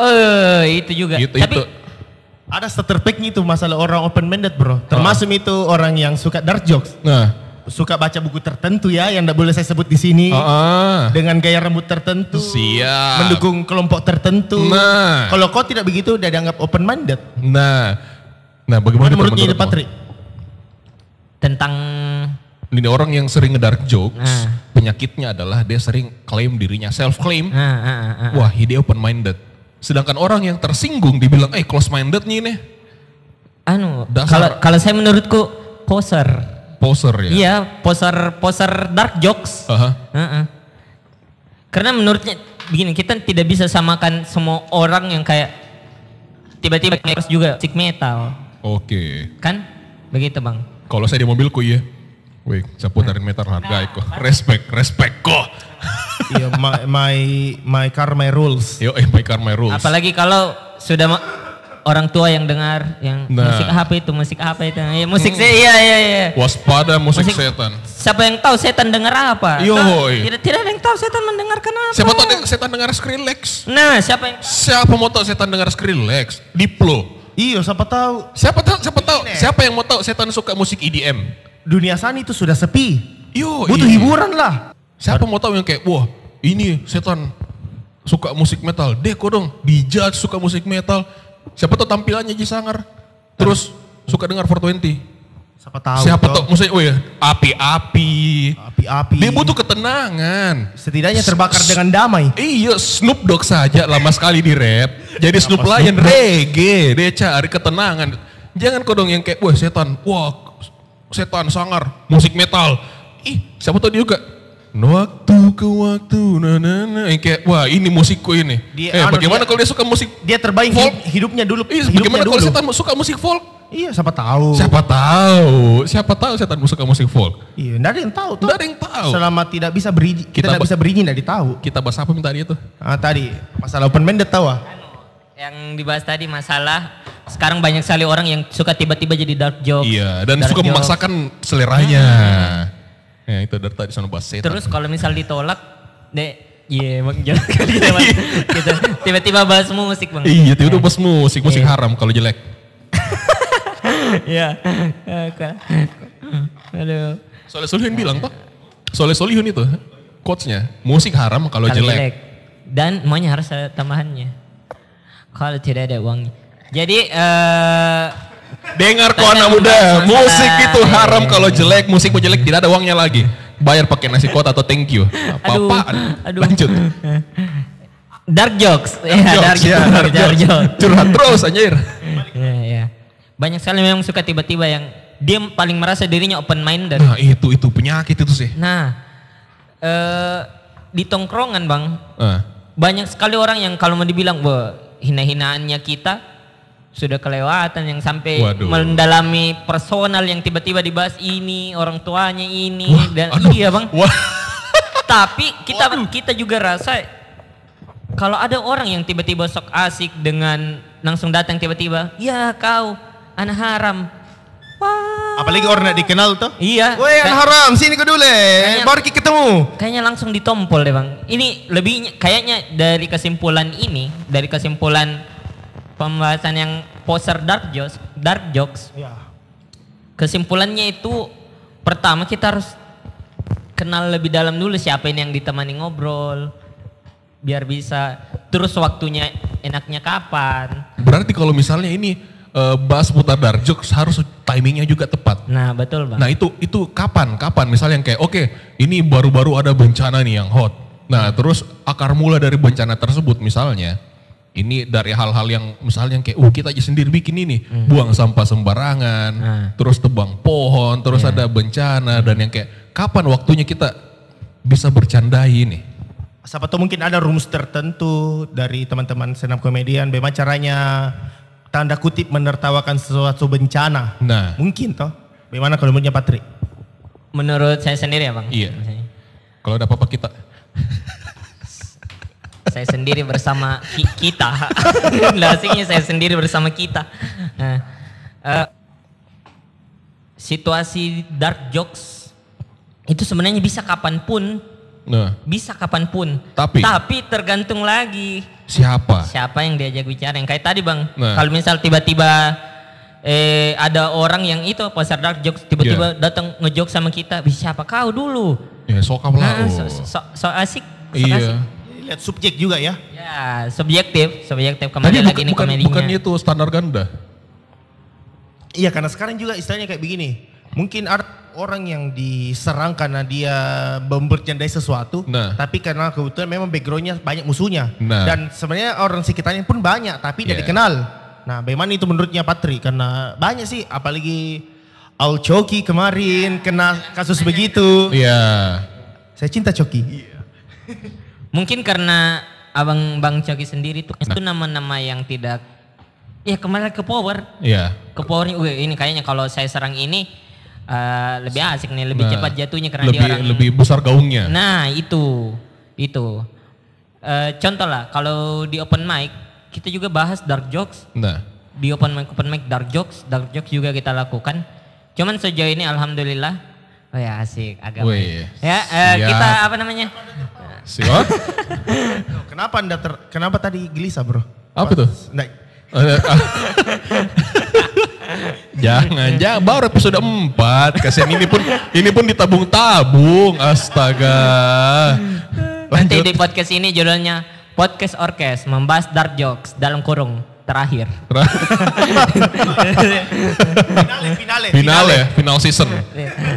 Speaker 3: Eh, itu juga.
Speaker 1: Gitu
Speaker 3: Tapi
Speaker 1: itu.
Speaker 2: Ada starter pack-nya itu masalah orang open minded
Speaker 1: Oh.
Speaker 2: bro. Termasuk itu orang yang suka dark jokes,
Speaker 1: Nah,
Speaker 2: suka baca buku tertentu ya yang tidak boleh saya sebut di sini.
Speaker 1: heeh.
Speaker 2: Dengan gaya rambut tertentu,
Speaker 1: Oh. Siap.
Speaker 2: mendukung kelompok tertentu.
Speaker 1: Nah.
Speaker 2: Kalau kau tidak begitu, udah dianggap open minded.
Speaker 1: Nah, nah bagaimana
Speaker 2: menurutnya ini
Speaker 1: teman-teman?
Speaker 2: Patrick?
Speaker 3: tentang
Speaker 1: Ini orang yang sering ngedark jokes,
Speaker 3: Ah.
Speaker 1: penyakitnya adalah dia sering claim dirinya, self claim.
Speaker 3: ah, ah, ah, ah.
Speaker 1: Wah, dia open minded. Sedangkan orang yang tersinggung dibilang, "Eh, close minded nih nih."
Speaker 3: anu
Speaker 1: Dasar.
Speaker 3: kalau kalau saya menurutku poser.
Speaker 1: Poser ya.
Speaker 3: Iya, poser poser dark jokes.
Speaker 1: Aha.
Speaker 3: Ah, ah. Karena menurutnya begini, kita tidak bisa samakan semua orang yang kayak tiba-tiba harus juga musik metal,
Speaker 1: Oke.
Speaker 3: kan? Begitu, Bang.
Speaker 1: Kalau saya di mobilku ya. Wih, saya putarin meter harga kok. Respect, respect kok.
Speaker 2: Iya, my, my my car my rules.
Speaker 1: Yo, eh, my car, my rules.
Speaker 3: Apalagi kalau sudah ma- orang tua yang dengar yang
Speaker 1: Nah. Hmm.
Speaker 3: musik apa itu, musik apa itu. Ya, musik saya iya iya iya.
Speaker 1: Waspada musik,
Speaker 3: Musik-
Speaker 1: setan.
Speaker 3: Siapa yang tahu setan dengar apa?
Speaker 1: Yoi.
Speaker 3: Nah, Tidak, tidak ada yang tahu setan mendengarkan apa.
Speaker 1: Iya, Siapa tahu deng- setan dengar Skrillex?
Speaker 3: Nah, siapa yang
Speaker 1: Siapa mau tahu setan dengar Skrillex? Diplo.
Speaker 2: Iya, siapa tahu
Speaker 1: Siapa tahu, siapa tahu, siapa yang mau tahu setan suka musik EDM?
Speaker 2: dunia sani itu sudah sepi.
Speaker 1: Yo,
Speaker 2: Butuh
Speaker 1: iya.
Speaker 2: hiburan lah.
Speaker 1: Siapa mau tahu yang kayak, wah ini setan suka musik metal. Deko dong, dijudge suka musik metal. Siapa tahu tampilannya Ji Sangar. Terus suka dengar 420.
Speaker 2: Siapa tahu.
Speaker 1: Siapa
Speaker 2: toh.
Speaker 1: tahu, maksudnya, oh ya, api-api.
Speaker 2: Api-api.
Speaker 1: Dia butuh ketenangan.
Speaker 2: Setidaknya terbakar dengan damai.
Speaker 1: Iya, Snoop Dogg saja lama sekali di rap. Jadi Snoop
Speaker 2: Snoop
Speaker 1: Lion
Speaker 2: Dogg?
Speaker 1: reggae, dia cari ketenangan. Jangan kodong yang kayak, wah setan, wah setan sangar, musik metal. Ih, siapa tau dia juga. Waktu ke waktu, na na na. Yang kayak, wah ini musikku ini.
Speaker 2: Dia-
Speaker 1: eh,
Speaker 2: anu,
Speaker 1: bagaimana
Speaker 2: dia-
Speaker 1: kalau dia suka musik,
Speaker 2: Dia terbaik
Speaker 1: Folk.
Speaker 2: hid- hidupnya dulu.
Speaker 1: Ih,
Speaker 2: hidupnya
Speaker 1: bagaimana kalau
Speaker 2: dulu.
Speaker 1: setan suka musik folk?
Speaker 2: Iya, siapa tahu.
Speaker 1: Siapa tahu, siapa tahu setan suka musik folk.
Speaker 2: Iya, enggak ada yang tahu tuh.
Speaker 1: Nggak ada yang tahu.
Speaker 2: Selama tidak bisa beri
Speaker 1: Kita
Speaker 2: kita tidak
Speaker 1: ba-
Speaker 2: bisa berizin dari tahu.
Speaker 1: Kita bahas apa minta dia tuh?
Speaker 2: Ah, tadi masalah open minded tahu ah.
Speaker 3: yang dibahas tadi masalah sekarang banyak sekali orang yang suka tiba-tiba jadi dark joke.
Speaker 1: Iya, dan suka memaksakan seleranya. Ya, itu dari tadi sana bahas setan.
Speaker 3: Terus kalau misal ditolak, deh
Speaker 1: Ah.
Speaker 3: Iya, emang jangan kali kita, kita Gitu. tiba-tiba bahas musik bang.
Speaker 1: Iya, tiba-tiba bos musik, musik haram kalau jelek.
Speaker 3: Iya. Oke. Aduh.
Speaker 1: Soleh Solihun bilang pak, Soleh Solihun itu quotesnya, musik haram kalau
Speaker 3: Kalau
Speaker 1: jelek.
Speaker 3: Dan maunya harus ada tambahannya. Kalau tidak ada uangnya. Jadi eh
Speaker 1: Dengar kau
Speaker 3: Tapi
Speaker 1: anak
Speaker 3: memang
Speaker 1: muda,
Speaker 3: masalah.
Speaker 1: musik itu haram
Speaker 3: Iya.
Speaker 1: kalau jelek, musik mau jelek tidak ada uangnya lagi. Bayar pakai nasi kotak atau thank you.
Speaker 3: aduh,
Speaker 1: Apa-apaan.
Speaker 3: aduh.
Speaker 1: Lanjut.
Speaker 3: Dark jokes. Iya,
Speaker 1: Jokes, ya, dark
Speaker 3: dark
Speaker 1: jokes.
Speaker 3: jokes.
Speaker 1: Curhat terus anjir.
Speaker 3: Iya, iya. Banyak sekali memang suka tiba-tiba yang dia paling merasa dirinya open minded.
Speaker 1: Nah itu, itu penyakit itu sih.
Speaker 3: Nah, eh di tongkrongan bang,
Speaker 1: Eh,
Speaker 3: banyak sekali orang yang kalau mau dibilang bahwa hina-hinaannya kita sudah kelewatan yang sampai
Speaker 1: Waduh.
Speaker 3: mendalami personal yang tiba-tiba dibahas ini orang tuanya ini
Speaker 1: Wah,
Speaker 3: dan
Speaker 1: aduh.
Speaker 3: iya bang.
Speaker 1: Wah,
Speaker 3: Tapi kita kita juga rasa kalau ada orang yang tiba-tiba sok asik dengan langsung datang tiba-tiba, ya kau anak haram. Wah,
Speaker 2: Apalagi orang tidak dikenal tuh.
Speaker 3: Iya.
Speaker 2: Woi, anak
Speaker 3: Kayak-
Speaker 2: haram, sini kau dulu. Baru kita ketemu.
Speaker 3: Kayaknya langsung ditompol deh bang. Ini lebih kayaknya dari kesimpulan ini, dari kesimpulan pembahasan yang poser dark jokes, dark jokes.
Speaker 2: Iya.
Speaker 3: Kesimpulannya itu pertama kita harus kenal lebih dalam dulu siapa ini yang ditemani ngobrol, biar bisa terus waktunya enaknya kapan.
Speaker 1: berarti kalau misalnya ini eh, bahas putar dark jokes harus timingnya juga tepat.
Speaker 3: Nah betul bang.
Speaker 1: Nah itu itu kapan kapan misalnya yang kayak oke ini baru-baru ada bencana nih yang hot. Nah terus akar mula dari bencana tersebut misalnya ini dari hal-hal yang misalnya yang kayak uh kita aja sendiri bikin ini buang sampah sembarangan,
Speaker 3: Hmm. Nah. Iya.
Speaker 1: terus tebang pohon, terus ada bencana dan yang kayak kapan waktunya kita bisa bercandai ini?
Speaker 2: Siapa tahu mungkin ada rumus tertentu dari teman-teman senam komedian. Bagaimana caranya tanda kutip menertawakan sesuatu bencana.
Speaker 1: Nah
Speaker 2: Mungkin toh. Bagaimana kalau menurutnya Patrick?
Speaker 3: Menurut saya sendiri ya bang.
Speaker 1: Iya. kalau ada apa-apa kita
Speaker 3: saya sendiri bersama ki- kita. Lasingnya saya sendiri bersama kita. Nah, eh, situasi dark jokes itu sebenarnya bisa kapanpun,
Speaker 1: nah
Speaker 3: bisa kapanpun.
Speaker 1: Tapi?
Speaker 3: tergantung lagi
Speaker 1: siapa?
Speaker 3: siapa yang diajak bicara. Yang kayak tadi bang,
Speaker 1: Nah.
Speaker 3: kalau misal tiba-tiba eh ada orang yang itu pasar dark jokes
Speaker 1: Iya.
Speaker 3: tiba-tiba datang ngejok sama kita, "Wih, siapa kau dulu?
Speaker 1: Ya sokap lah.
Speaker 3: Nah,
Speaker 1: oh.
Speaker 3: so, so, so asik, so asik.
Speaker 1: Iya.
Speaker 2: Lihat subjek juga ya.
Speaker 3: Ya, subjektif, subjektif
Speaker 1: Tadi
Speaker 3: kembali lagi
Speaker 1: bukan,
Speaker 3: nih
Speaker 1: bukan,
Speaker 3: komedinya.
Speaker 1: bukan itu standar ganda.
Speaker 2: Iya karena sekarang juga istilahnya kayak begini. Mungkin ada orang yang diserang karena dia mempercandai sesuatu.
Speaker 1: Nah.
Speaker 2: Tapi karena kebetulan memang backgroundnya banyak musuhnya.
Speaker 1: Nah. Iya.
Speaker 2: Dan sebenarnya orang sekitarnya pun banyak tapi tidak
Speaker 1: Yeah.
Speaker 2: dikenal. Nah bagaimana itu menurutnya Patri? Karena banyak sih apalagi Al Coki kemarin kena kasus begitu.
Speaker 1: Iya.
Speaker 2: Saya cinta Coki.
Speaker 3: Mungkin karena abang Bang Coki sendiri tuh itu
Speaker 1: Nah.
Speaker 3: nama-nama yang tidak ya kembali ke power.
Speaker 1: Iya.
Speaker 3: Ke powernya "Wih, ini kayaknya kalau saya serang ini eh, lebih asik nih, lebih
Speaker 1: Nah,
Speaker 3: cepat jatuhnya karena
Speaker 1: lebih,
Speaker 3: dia orang
Speaker 1: lebih besar gaungnya.
Speaker 3: Nah, itu. Itu. Eh, contoh lah kalau di open mic kita juga bahas dark jokes
Speaker 1: Nah,
Speaker 3: di open mic open mic dark jokes dark jokes juga kita lakukan cuman sejauh ini alhamdulillah oh ya asik agak
Speaker 1: Wih,
Speaker 3: ya eh,
Speaker 1: siap.
Speaker 3: kita apa namanya
Speaker 1: si oh,
Speaker 2: Kenapa anda ter, kenapa tadi gelisah bro? Nah,
Speaker 1: apa tuh?
Speaker 2: Nggak,
Speaker 1: Eh, ah. jangan, jangan. Baru episode 4. Kasihan ini pun ini pun ditabung-tabung. Astaga.
Speaker 3: nanti
Speaker 1: Lanjut.
Speaker 3: di podcast ini judulnya podcast orkes membahas dark jokes dalam kurung terakhir
Speaker 2: finale, finale,
Speaker 1: Final ya, final season.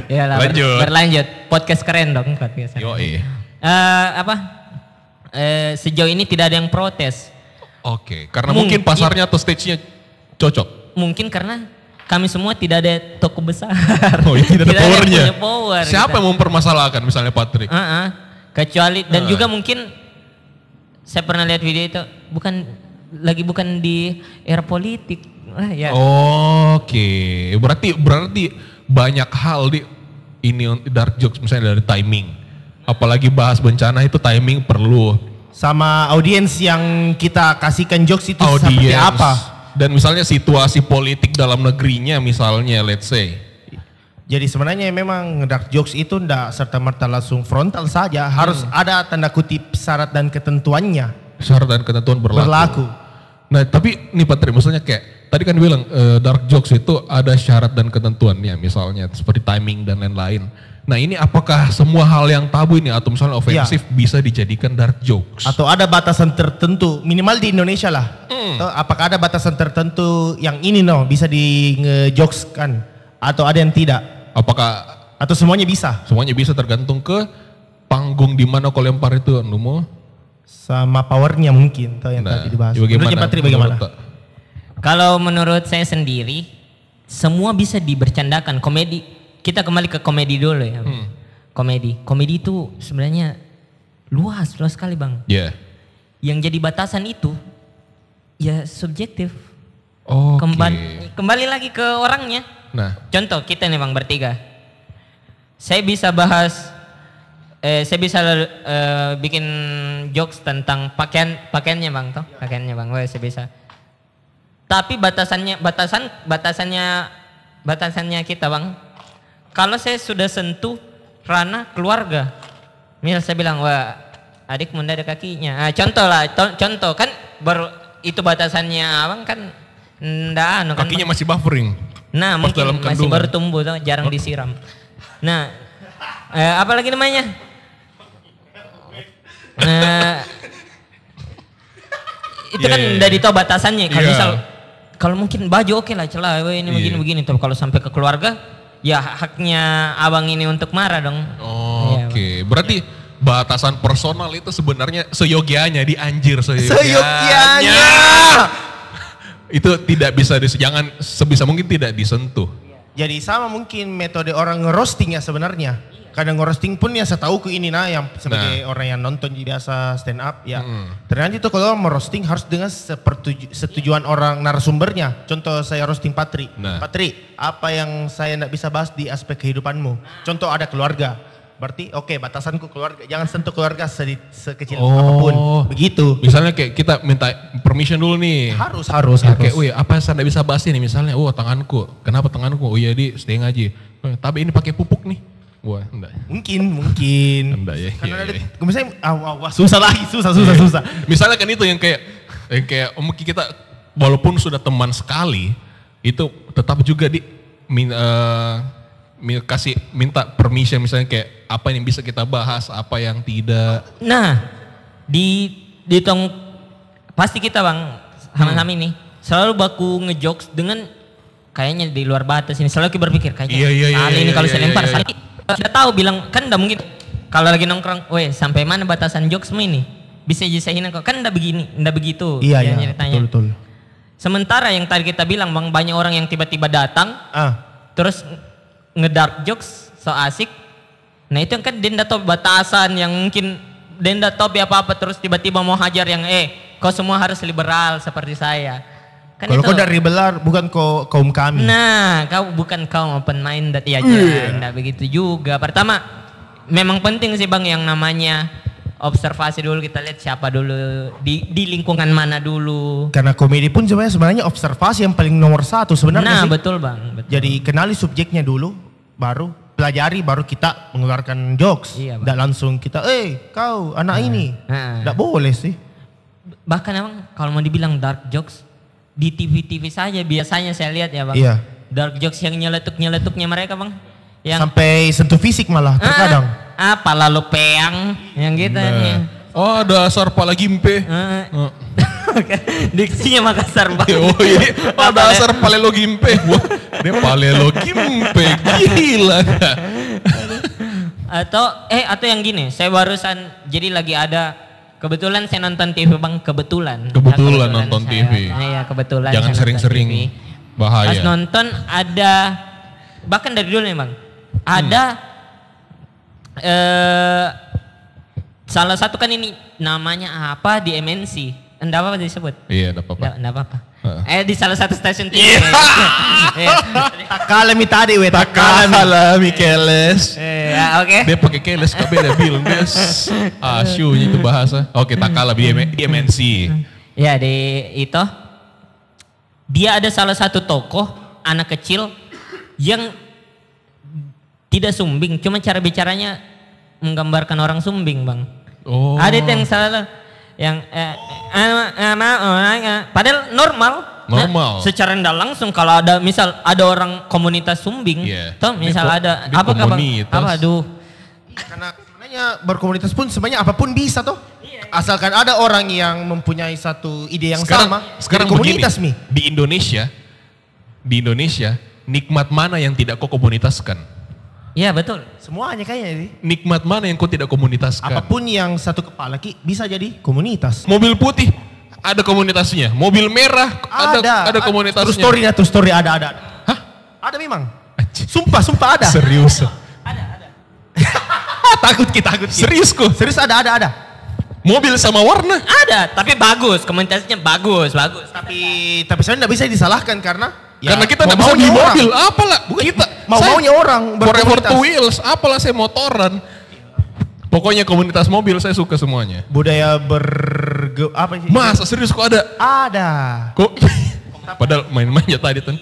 Speaker 3: Iyalah,
Speaker 1: Lanjut.
Speaker 3: Ya, berlanjut podcast keren dong podcast
Speaker 1: Yo,
Speaker 3: Eh, apa Eh, sejauh ini tidak ada yang protes
Speaker 1: Oke, karena
Speaker 3: Mungkin.
Speaker 1: mungkin pasarnya atau stage-nya cocok.
Speaker 3: mungkin karena kami semua tidak ada toko besar
Speaker 1: Oh, iya, tidak ada
Speaker 3: yang
Speaker 1: powernya.
Speaker 3: punya power
Speaker 1: Siapa
Speaker 3: gitu.
Speaker 1: yang mempermasalahkan misalnya Patrick?
Speaker 3: Heeh. Kecuali dan
Speaker 1: Heeh.
Speaker 3: juga mungkin saya pernah lihat video itu bukan lagi bukan di era politik. Wah, ya.
Speaker 1: Oh. Oke, berarti berarti banyak hal di ini dark jokes misalnya dari timing. Apalagi bahas bencana itu timing perlu.
Speaker 2: sama audiens yang kita kasihkan jokes itu seperti
Speaker 1: Audience.
Speaker 2: apa?
Speaker 1: Dan misalnya situasi politik dalam negerinya misalnya let's say.
Speaker 2: Jadi sebenarnya memang dark jokes itu ndak serta merta langsung frontal saja, harus
Speaker 1: Hmm.
Speaker 2: ada tanda kutip syarat dan ketentuannya
Speaker 1: syarat dan ketentuan berlaku.
Speaker 2: berlaku.
Speaker 1: Nah, tapi nih Patri, maksudnya kayak tadi kan bilang eh, dark jokes itu ada syarat dan ketentuannya, misalnya seperti timing dan lain-lain. Nah, ini apakah semua hal yang tabu ini atau misalnya ofensif bisa dijadikan dark jokes?
Speaker 2: Ya. Atau ada batasan tertentu, minimal di Indonesia lah.
Speaker 1: Hmm.
Speaker 2: Atau Apakah ada batasan tertentu yang ini no bisa di ngejokeskan atau ada yang tidak?
Speaker 1: Apakah
Speaker 2: Atau semuanya bisa?
Speaker 1: semuanya bisa tergantung ke panggung di mana kau lempar itu Numo?
Speaker 2: Sama powernya mungkin atau yang tadi dibahas. Menurutnya Patri bagaimana?
Speaker 1: Nah, Menurut-
Speaker 3: Kalau menurut saya sendiri, semua bisa dibercandakan. Komedi, kita kembali ke komedi dulu ya.
Speaker 1: Hmm.
Speaker 3: Komedi, komedi itu sebenarnya luas, luas sekali bang.
Speaker 1: Ya.
Speaker 3: Yang jadi batasan itu ya subjektif.
Speaker 1: Oke.
Speaker 3: Kembali, kembali lagi ke orangnya.
Speaker 1: Nah,
Speaker 3: Contoh kita nih bang bertiga. Saya bisa bahas, eh, saya bisa eh, bikin jokes tentang pakaian pakaiannya bang toh, pakaiannya bang, Wah, saya bisa. Tapi batasannya batasan batasannya batasannya kita bang. Kalau saya sudah sentuh ranah keluarga, misal saya bilang wah adik munda ada kakinya. Ah, contoh lah, to- contoh kan baru itu batasannya abang kan ndak anu kan,
Speaker 1: kakinya masih buffering.
Speaker 3: Nah,
Speaker 1: Pas
Speaker 3: mungkin
Speaker 1: dalam
Speaker 3: masih
Speaker 1: kandungan. Oh.
Speaker 3: baru tumbuh, tau, jarang disiram. Nah, eh, apa lagi namanya? Eh, itu
Speaker 1: Iya,
Speaker 3: kan
Speaker 1: iya, iya.
Speaker 3: dari tahu batasannya. Kalau
Speaker 1: Iya.
Speaker 3: misal, kalau mungkin baju oke lah, celah, "Weh, ini
Speaker 1: Iya.
Speaker 3: begini-begini. Tapi kalau sampai ke keluarga, ya haknya abang ini untuk marah dong.
Speaker 1: Oh,
Speaker 3: Iya,
Speaker 1: Oke, berarti batasan personal itu sebenarnya seyogianya di anjir seyogianya.
Speaker 2: Seyogyanya!
Speaker 1: Itu tidak bisa dis, jangan sebisa mungkin tidak disentuh.
Speaker 2: Jadi sama mungkin metode orang ngerosting ya sebenarnya. Kadang ngerosting pun ya setauku ini nah yang sebagai orang yang nonton biasa stand up ya.
Speaker 1: Hmm.
Speaker 2: Ternyata itu kalau orang merosting harus dengan sepertuju- setujuan orang narasumbernya. Contoh saya roasting Patri.
Speaker 1: Nah.
Speaker 2: Patri, apa yang saya tidak bisa bahas di aspek kehidupanmu? Contoh ada keluarga. Berarti oke batasanku keluarga. Jangan sentuh keluarga sedi- sekecil
Speaker 1: Oh.
Speaker 2: apapun. Begitu.
Speaker 1: Misalnya kayak kita minta permission dulu nih.
Speaker 2: Harus harus
Speaker 1: Ya,
Speaker 2: harus.
Speaker 1: kayak, "Wih, apa saya nggak bisa bahas ini misalnya, oh tanganku, kenapa tanganku? Oh iya di stay aja. "Eh, Tapi ini pakai pupuk nih. Wah, enggak.
Speaker 2: Mungkin mungkin.
Speaker 1: Enggak ya.
Speaker 2: Karena
Speaker 1: iya,
Speaker 2: ada,
Speaker 1: iya.
Speaker 2: misalnya, ah, wah, wah, susah lagi, susah, susah, susah.
Speaker 1: Misalnya kan itu yang kayak yang kayak oh, mungkin kita walaupun sudah teman sekali itu tetap juga di min, eh, min- kasih minta permission misalnya kayak apa yang bisa kita bahas, apa yang tidak.
Speaker 3: Nah, di di tong pasti kita bang sama-sama
Speaker 1: Hmm.
Speaker 3: ini selalu baku ngejokes dengan kayaknya di luar batas ini selalu kita berpikir kayaknya
Speaker 1: Iya, iya, iya,
Speaker 3: kali ini
Speaker 1: iya,
Speaker 3: kalau
Speaker 1: iya,
Speaker 3: saya
Speaker 1: iya,
Speaker 3: lempar
Speaker 1: iya.
Speaker 3: kali- sudah tahu bilang kan udah mungkin kalau lagi nongkrong, weh sampai mana batasan jokesmu ini? Bisa disahin kok kan udah begini, udah begitu.
Speaker 2: Iya,
Speaker 3: dia
Speaker 2: iya,
Speaker 3: ceritanya.
Speaker 2: betul, betul.
Speaker 3: Sementara yang tadi kita bilang bang banyak orang yang tiba-tiba datang
Speaker 2: Ah,
Speaker 3: terus ngedark jokes so asik nah itu kan denda top batasan yang mungkin denda top ya apa apa terus tiba-tiba mau hajar yang eh kau semua harus liberal seperti saya kan
Speaker 2: kalau
Speaker 3: itu-
Speaker 2: kau dari Hmm. belar bukan kau kaum kami.
Speaker 3: nah kau bukan kau open minded
Speaker 2: Iya.
Speaker 3: ya jangan enggak begitu juga pertama memang penting sih bang yang namanya observasi dulu kita lihat siapa dulu di di lingkungan mana dulu
Speaker 2: Karena komedi pun sebenarnya sebenarnya observasi yang paling nomor satu
Speaker 3: nah
Speaker 2: sebenarnya sih.
Speaker 3: betul bang betul.
Speaker 2: Jadi kenali subjeknya dulu, baru pelajari, baru kita mengeluarkan jokes.
Speaker 3: Iya, Bang.
Speaker 2: Tidak langsung kita, eh kau anak ini,
Speaker 3: Nah.
Speaker 2: tidak boleh sih.
Speaker 3: bahkan emang kalau mau dibilang dark jokes di TV-TV saja biasanya saya lihat ya bang.
Speaker 2: Iya.
Speaker 3: Dark jokes yang nyeletuk nyeletuknya mereka bang. Yang
Speaker 2: Sampai sentuh fisik malah terkadang.
Speaker 3: Ah, apa lalu peang yang gitu ya.
Speaker 1: Oh, dasar pala gimpe.
Speaker 3: Ah,
Speaker 1: Oh,
Speaker 3: Diksinya Makassar banget.
Speaker 1: oh ini oh, dasar palelo gimpe. Wah, dia palelo gimpe. Gila.
Speaker 3: Atau eh atau yang gini, saya barusan jadi lagi ada kebetulan saya nonton TV bang kebetulan.
Speaker 1: Kebetulan nonton
Speaker 3: saya-
Speaker 1: TV.
Speaker 3: Iya kebetulan. saya
Speaker 1: Jangan
Speaker 3: nonton TV.
Speaker 1: sering-sering
Speaker 3: Pas
Speaker 1: bahaya.
Speaker 3: nonton ada bahkan dari dulu nih bang ada eh salah satu kan ini namanya apa di MNC enggak apa-apa disebut
Speaker 1: Iya, enggak apa-apa.
Speaker 3: enggak enggak apa-apa
Speaker 1: Heeh.
Speaker 3: eh di salah satu stasiun TV Iya.
Speaker 2: Tak kalah mi tadi, we tak kalah mi.
Speaker 1: Kalah Mikeles.
Speaker 3: Eh, ya, oke
Speaker 1: dia pakai keles KB dia bilang dia s- asyunya itu bahasa oke tak kalah di, M- di MNC
Speaker 3: ya di itu dia ada salah satu tokoh anak kecil yang tidak sumbing, cuma cara bicaranya menggambarkan orang sumbing, Bang.
Speaker 1: Oh.
Speaker 3: Ada itu yang salah yang eh, eh, eh, eh, eh, padahal normal. Nah,
Speaker 1: Normal.
Speaker 3: secara tidak langsung kalau ada misal ada orang komunitas sumbing,
Speaker 1: Iya.
Speaker 3: toh
Speaker 1: Ini
Speaker 3: misal
Speaker 1: ko-
Speaker 3: ada
Speaker 1: ini
Speaker 3: apa kabar-
Speaker 1: komunitas.
Speaker 3: Apa aduh.
Speaker 2: Karena sebenarnya berkomunitas pun sebenarnya apapun bisa toh.
Speaker 3: Iya.
Speaker 2: Asalkan ada orang yang mempunyai satu ide yang
Speaker 1: sekarang,
Speaker 2: sama.
Speaker 1: Sekarang
Speaker 2: jadi komunitas
Speaker 1: begini,
Speaker 2: mi.
Speaker 1: di Indonesia, di Indonesia, nikmat mana yang tidak kau komunitaskan?
Speaker 3: Iya, betul.
Speaker 2: Semuanya kayaknya sih.
Speaker 1: Nikmat mana yang kau tidak komunitaskan?
Speaker 2: Apapun yang satu kepala ki bisa jadi komunitas.
Speaker 1: Mobil putih ada komunitasnya, mobil merah ada ada,
Speaker 2: A-
Speaker 1: komunitasnya.
Speaker 2: Terus story dah, terus story ada ada. ada.
Speaker 1: Hah?
Speaker 2: Ada memang.
Speaker 1: Anjing.
Speaker 2: Sumpah, sumpah ada. Iya.
Speaker 1: Serius.
Speaker 2: takut kita, takut ki.
Speaker 1: Serius kok.
Speaker 2: Serius ada ada ada.
Speaker 1: Mobil sama warna.
Speaker 3: Ada, tapi bagus, komunitasnya bagus, bagus.
Speaker 2: Tapi tapi saya tidak bisa disalahkan karena
Speaker 1: Karena kita tidak
Speaker 2: mau
Speaker 1: bisa beli
Speaker 2: orang.
Speaker 1: mobil, apalah kita
Speaker 2: Mau
Speaker 1: saya-
Speaker 2: maunya orang
Speaker 1: Forever
Speaker 2: berkomunitas.
Speaker 1: two wheels, apalah saya motoran. Pokoknya komunitas mobil saya suka semuanya.
Speaker 2: Budaya ber apa sih?
Speaker 1: Masa serius kok ada?
Speaker 2: Ada.
Speaker 1: Kok? Padahal main-main ya tadi tuh.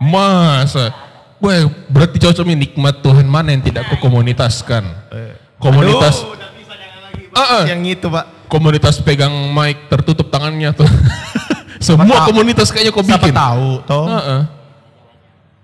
Speaker 1: Masa? Wah, berarti cocok nih nikmat Tuhan mana yang tidak kau komunitaskan? Komunitas,
Speaker 2: Eh. Aduh, Iya. nggak bisa jangan lagi, Pak.
Speaker 1: Ah, ah.
Speaker 2: Yang itu, Pak.
Speaker 1: komunitas pegang mic tertutup tangannya tuh. Semua
Speaker 2: tahu?
Speaker 1: komunitas kayaknya kau Oh,
Speaker 2: Siapa
Speaker 1: bikin. Ah,
Speaker 2: tahu toh.
Speaker 1: Heeh.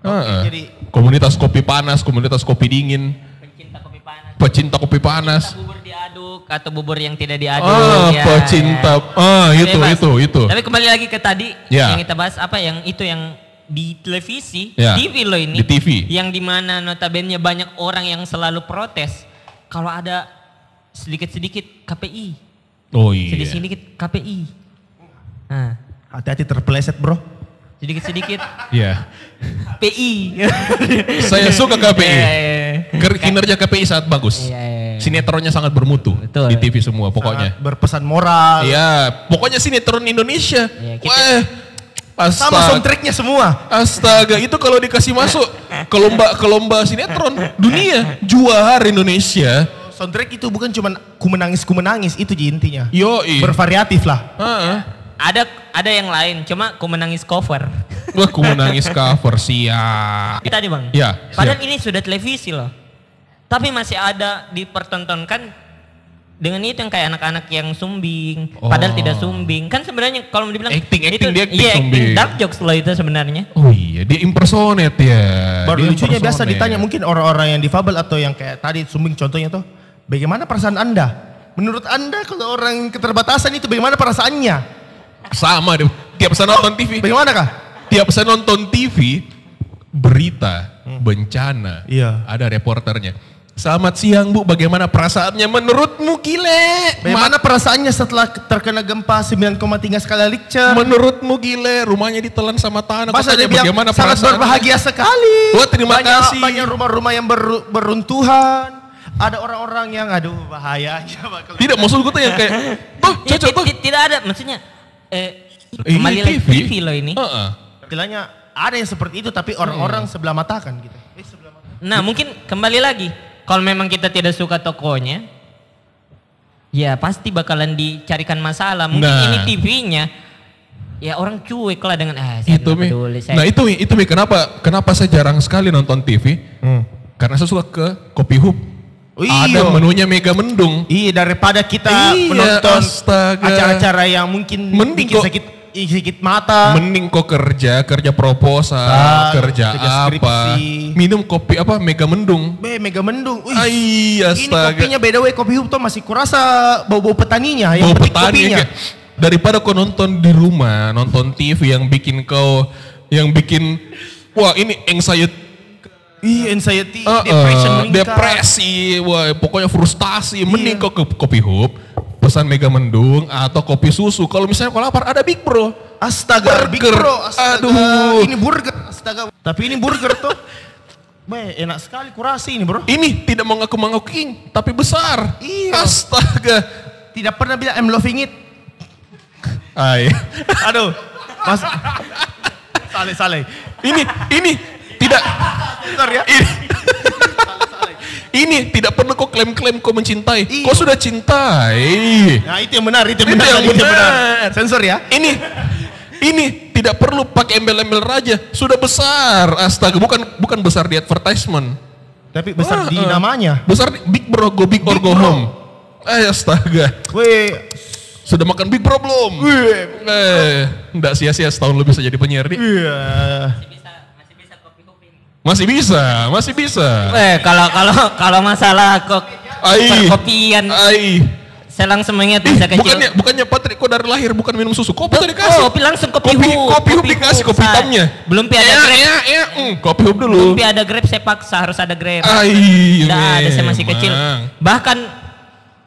Speaker 1: Heeh.
Speaker 2: jadi-
Speaker 1: ah. Komunitas kopi panas, komunitas kopi dingin,
Speaker 3: Pencinta kopi panas.
Speaker 1: pecinta kopi panas.
Speaker 3: Cinta bubur diaduk atau bubur yang tidak diaduk.
Speaker 1: Ah,
Speaker 3: ya.
Speaker 1: pecinta. Ah, itu,
Speaker 3: Bebas.
Speaker 1: itu, itu.
Speaker 3: Tapi kembali lagi ke tadi
Speaker 1: Ya.
Speaker 3: yang kita bahas apa yang itu yang di televisi,
Speaker 1: Ya.
Speaker 3: TV loh ini.
Speaker 1: Di TV.
Speaker 3: Yang dimana notabene banyak orang yang selalu protes kalau ada sedikit-sedikit KPI,
Speaker 1: Oh iya.
Speaker 3: sedikit-sedikit KPI. Nah,
Speaker 2: Hati-hati terpeleset, Bro.
Speaker 3: sedikit-sedikit
Speaker 1: Iya.
Speaker 3: PI.
Speaker 1: Saya suka
Speaker 3: Iya,
Speaker 1: KPI.
Speaker 3: iya, iya.
Speaker 1: Ker- Kinerja KPI sangat bagus.
Speaker 3: Iya, iya, iya.
Speaker 1: Sinetronnya sangat bermutu
Speaker 3: Betul.
Speaker 1: di TV semua pokoknya.
Speaker 2: Sangat berpesan moral.
Speaker 1: Iya, pokoknya sinetron Indonesia.
Speaker 3: Iya, kita-
Speaker 1: Wah.
Speaker 2: Sama
Speaker 1: Astaga.
Speaker 2: soundtracknya semua.
Speaker 1: Astaga, itu kalau dikasih masuk ke lomba ke lomba sinetron dunia juara Indonesia.
Speaker 2: Soundtrack itu bukan cuman ku menangis ku menangis itu ji intinya.
Speaker 1: Yoi.
Speaker 2: Bervariatif lah.
Speaker 1: Heeh.
Speaker 3: Ada ada yang lain, cuma aku menangis cover.
Speaker 1: Wah, ku menangis cover siap.
Speaker 3: Tadi bang.
Speaker 1: Ya,
Speaker 3: Padahal ini sudah televisi loh. Tapi masih ada dipertontonkan dengan itu yang kayak anak-anak yang sumbing, padahal
Speaker 1: Oh.
Speaker 3: tidak sumbing. Kan sebenarnya kalau dibilang
Speaker 1: Acting-acting
Speaker 3: itu-
Speaker 1: dia acting
Speaker 3: iya, acting
Speaker 1: sumbing.
Speaker 3: dark jokes loh itu sebenarnya.
Speaker 1: Oh iya, dia impersonate ya.
Speaker 2: Baru
Speaker 1: Dia
Speaker 2: lucunya biasa
Speaker 1: impersonate.
Speaker 2: ditanya mungkin orang-orang yang difabel atau yang kayak tadi sumbing contohnya tuh. Bagaimana perasaan Anda? Menurut Anda kalau orang keterbatasan itu bagaimana perasaannya?
Speaker 1: Sama deh. Tiap saya nonton TV,
Speaker 2: Bagaimana kah?
Speaker 1: tiap saya nonton TV, berita, bencana,
Speaker 2: Hmm. Iya.
Speaker 1: ada reporternya. Selamat siang bu, bagaimana perasaannya menurutmu gile?
Speaker 2: Bagaimana perasaannya setelah terkena gempa 9,3 skala
Speaker 1: Ma-
Speaker 2: Richter?
Speaker 1: menurutmu gile, rumahnya ditelan sama tanah.
Speaker 2: Masa
Speaker 1: Kau
Speaker 2: dia
Speaker 1: tanya
Speaker 2: bilang
Speaker 1: bagaimana
Speaker 2: sangat
Speaker 1: perasaannya?"
Speaker 2: berbahagia sekali.
Speaker 1: Wah, terima
Speaker 2: banyak,
Speaker 1: kasih.
Speaker 2: Banyak rumah-rumah yang ber- beruntuhan. Ada orang-orang yang aduh bahaya. Coba kalau-
Speaker 1: Tidak, maksud gue tuh yang kayak, tuh
Speaker 3: Iya,
Speaker 1: cocok
Speaker 3: ti-
Speaker 1: tuh.
Speaker 3: ti- tidak ada maksudnya eh
Speaker 1: Ini
Speaker 3: kembali lagi TV loh ini.
Speaker 1: Heeh.
Speaker 2: Istilahnya ada yang seperti itu tapi orang-orang sebelah mata kan gitu. Eh, sebelah mata.
Speaker 3: Nah, mungkin kembali lagi kalau memang kita tidak suka tokonya ya pasti bakalan dicarikan masalah. Mungkin
Speaker 1: Nah.
Speaker 3: ini TV-nya ya orang cuek lah dengan ah saya
Speaker 1: Itu
Speaker 3: nggak
Speaker 1: mi.
Speaker 3: peduli, saya
Speaker 1: Nah itu mi, itu mi kenapa kenapa saya jarang sekali nonton TV? Karena saya suka ke Kopi Hub.
Speaker 2: Hmm. Oh,
Speaker 1: Ada
Speaker 2: iya.
Speaker 1: menunya Mega Mendung.
Speaker 2: Iya daripada kita
Speaker 1: Iya,
Speaker 2: menonton
Speaker 1: astaga.
Speaker 2: acara-acara yang mungkin
Speaker 1: Mending
Speaker 2: bikin
Speaker 1: kok-
Speaker 2: sakit ih, sakit mata.
Speaker 1: Mending kok kerja, kerja proposal,
Speaker 2: Ah,
Speaker 1: kerja
Speaker 2: kerja
Speaker 1: apa,
Speaker 2: skripsi.
Speaker 1: minum kopi apa Mega Mendung.
Speaker 2: Be mega mendung. Wih,
Speaker 1: Ai,
Speaker 2: ini
Speaker 1: astaga.
Speaker 2: kopinya beda we kopi hub tuh masih kurasa bau-bau petaninya ya,
Speaker 1: Bau
Speaker 2: yang petik
Speaker 1: petani
Speaker 2: kopinya.
Speaker 1: kayak, daripada kau nonton di rumah, nonton TV yang bikin kau yang bikin wah ini anxiety
Speaker 2: Iya
Speaker 1: Eh,
Speaker 2: anxiety,
Speaker 1: eh,
Speaker 2: depression meningkat. Iya.
Speaker 1: depresi, wah, pokoknya frustasi. Mending kau ke kopi hub, pesan mega mendung atau kopi susu. Kalau misalnya kau lapar ada Big Bro.
Speaker 2: Astaga, Big
Speaker 1: Burger.
Speaker 2: Bro, astaga.
Speaker 1: Aduh.
Speaker 2: Ini burger, astaga. Tapi ini burger tuh. Be, enak sekali kurasi ini, Bro.
Speaker 1: Ini tidak mau ngaku mengaku king, tapi besar.
Speaker 2: Iya.
Speaker 1: Astaga.
Speaker 2: Tidak pernah bilang I'm loving it.
Speaker 1: Ay.
Speaker 2: Aduh. Mas Saleh, saleh.
Speaker 1: ini ini tidak
Speaker 2: Bentar ya.
Speaker 1: ini, ini tidak perlu kau klaim-klaim kau mencintai.
Speaker 2: Iya.
Speaker 1: Kau sudah cintai.
Speaker 2: Nah, itu yang benar, itu
Speaker 1: Itu
Speaker 2: yang benar,
Speaker 1: yang
Speaker 2: itu yang benar.
Speaker 1: benar.
Speaker 2: Sensor ya.
Speaker 1: ini ini tidak perlu pakai embel-embel raja sudah besar astaga bukan bukan besar di advertisement
Speaker 2: Tapi
Speaker 1: Ah,
Speaker 2: besar di
Speaker 1: ah.
Speaker 2: namanya.
Speaker 1: Besar di- Big Bro Go Big or
Speaker 2: Big
Speaker 1: Go
Speaker 2: Bro.
Speaker 1: Home. Eh astaga.
Speaker 2: Wih,
Speaker 1: Sudah makan Big Bro belum? Eh, enggak sia-sia setahun lebih saya jadi penyiar nih.
Speaker 2: iya.
Speaker 1: Masih bisa, masih bisa.
Speaker 3: Eh, kalau kalau kalau masalah kok
Speaker 1: Ai.
Speaker 3: perkopian,
Speaker 1: Ai.
Speaker 3: saya langsung mengingat masa kecil.
Speaker 1: Bukannya bukannya Patrick kok dari lahir bukan minum susu, kopi tadi
Speaker 3: Oh,
Speaker 1: dikasih.
Speaker 3: kopi langsung kopi
Speaker 1: kopi,
Speaker 3: hub.
Speaker 1: kopi hub dikasih, kopi
Speaker 3: Saya-
Speaker 1: hitamnya.
Speaker 3: Belum pi ada
Speaker 1: Iya,
Speaker 3: grab.
Speaker 1: iya, iya. mm, Kopi hub dulu.
Speaker 3: Belum pi ada grab saya paksa harus ada grab.
Speaker 1: Ai.
Speaker 3: Nggak ada saya masih
Speaker 1: memang.
Speaker 3: kecil. Bahkan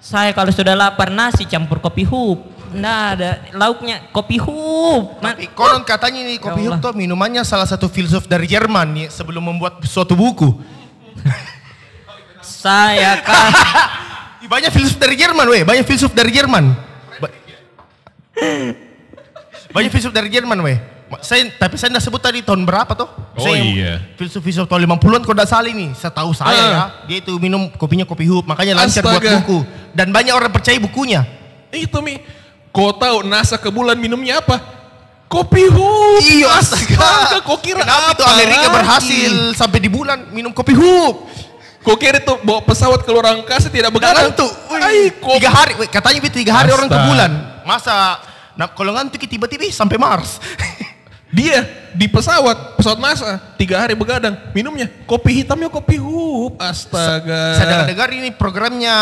Speaker 3: saya kalau sudah lapar nasi campur kopi hub. Nggak ada lauknya kopi hub.
Speaker 1: Nah,
Speaker 3: Ma-
Speaker 2: Tapi konon katanya nih kopi
Speaker 3: Ya
Speaker 2: hub
Speaker 3: Allah.
Speaker 2: tuh minumannya salah satu filsuf dari Jerman nih sebelum membuat suatu buku.
Speaker 3: Saya kan
Speaker 2: Banyak filsuf dari Jerman, weh. Banyak filsuf dari Jerman. Ba- Banyak filsuf dari Jerman, weh. Ma- Saya, tapi saya tidak sebut tadi tahun berapa tuh.
Speaker 1: Oh,
Speaker 2: saya,
Speaker 1: iya.
Speaker 2: Filsuf-filsuf tahun 50-an kalau tidak salah ini. Setahu saya
Speaker 1: Ah.
Speaker 2: ya. Dia itu minum kopinya kopi hub. Makanya lancar buat
Speaker 1: Astaga.
Speaker 2: buku. Dan banyak orang percaya bukunya.
Speaker 1: Itu Mi. Kau tahu NASA ke bulan minumnya apa? Kopi hub.
Speaker 2: Iya,
Speaker 1: Oh, Astaga, kau kira
Speaker 2: Kenapa itu
Speaker 1: apa
Speaker 2: Amerika
Speaker 1: lagi?
Speaker 2: berhasil sampai di bulan minum kopi hub.
Speaker 1: Kau kira itu bawa pesawat ke luar angkasa tidak begadang?
Speaker 2: Begadang tuh. wih.
Speaker 1: Ai, kopi.
Speaker 2: Tiga hari, wih, katanya itu tiga hari orang ke
Speaker 1: Astaga.
Speaker 2: bulan. Masa nah, kalau ngantuk tiba-tiba ih, sampai Mars.
Speaker 1: Dia di pesawat, pesawat NASA, tiga hari begadang. Minumnya kopi hitamnya kopi hub. Astaga.
Speaker 2: Saya dengar ini programnya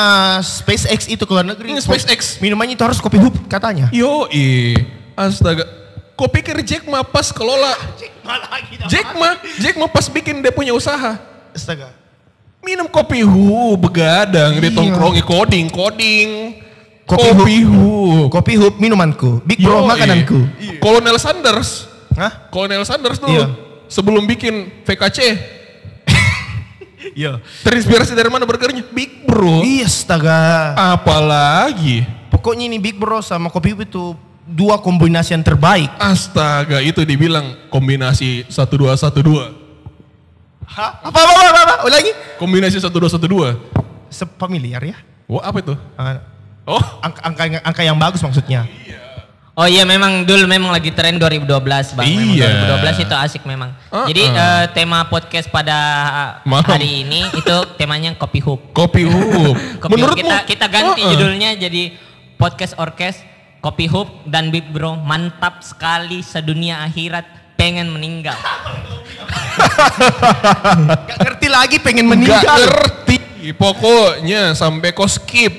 Speaker 2: SpaceX itu ke luar negeri.
Speaker 1: Ini SpaceX.
Speaker 2: Minumannya itu harus kopi hub katanya.
Speaker 1: Yo, astaga. Kau pikir Jack Ma pas kelola Jack Ma, Jack Ma pas bikin dia punya usaha.
Speaker 2: Astaga.
Speaker 1: Minum kopi hu begadang
Speaker 2: Iya.
Speaker 1: dia tongkrongi coding coding
Speaker 2: Kopi
Speaker 1: kopi,
Speaker 2: hub.
Speaker 1: hu.
Speaker 2: Kopi hub minumanku, Big
Speaker 1: Yo,
Speaker 2: Bro
Speaker 1: eh.
Speaker 2: makananku.
Speaker 1: Kolonel Sanders,
Speaker 2: Hah?
Speaker 1: Kolonel Sanders tuh
Speaker 2: Iya.
Speaker 1: sebelum bikin VKC
Speaker 2: Iya.
Speaker 1: terinspirasi dari mana burgernya? Big Bro.
Speaker 2: Iya, astaga.
Speaker 1: Apalagi
Speaker 2: Pokoknya ini Big Bro sama kopi hub itu dua kombinasi yang terbaik.
Speaker 1: astaga itu dibilang kombinasi 1212.
Speaker 2: Hah? Apa apa apa, apa, apa? Ulangi.
Speaker 1: Kombinasi 1212.
Speaker 2: Sepamiliar ya.
Speaker 1: Wah, apa itu?
Speaker 2: Ah,
Speaker 1: Oh,
Speaker 2: Angka, angka, angka yang bagus maksudnya.
Speaker 3: Oh iya memang dulu memang lagi tren 2012 bang. Memang
Speaker 1: Iya.
Speaker 3: 2012 itu asik memang.
Speaker 1: Uh-uh.
Speaker 3: Jadi eh, tema podcast pada
Speaker 1: Malam.
Speaker 3: hari ini itu temanya kopi hub.
Speaker 1: kopi hub.
Speaker 3: Kopi hub.
Speaker 1: Menurutmu
Speaker 3: kita kita ganti
Speaker 1: Oh, eh.
Speaker 3: judulnya jadi podcast orkes kopi hub dan big bro mantap sekali sedunia akhirat pengen meninggal.
Speaker 2: Gak ngerti lagi pengen
Speaker 1: Nggak
Speaker 2: meninggal.
Speaker 1: ngerti. Pokoknya sampai kau skip.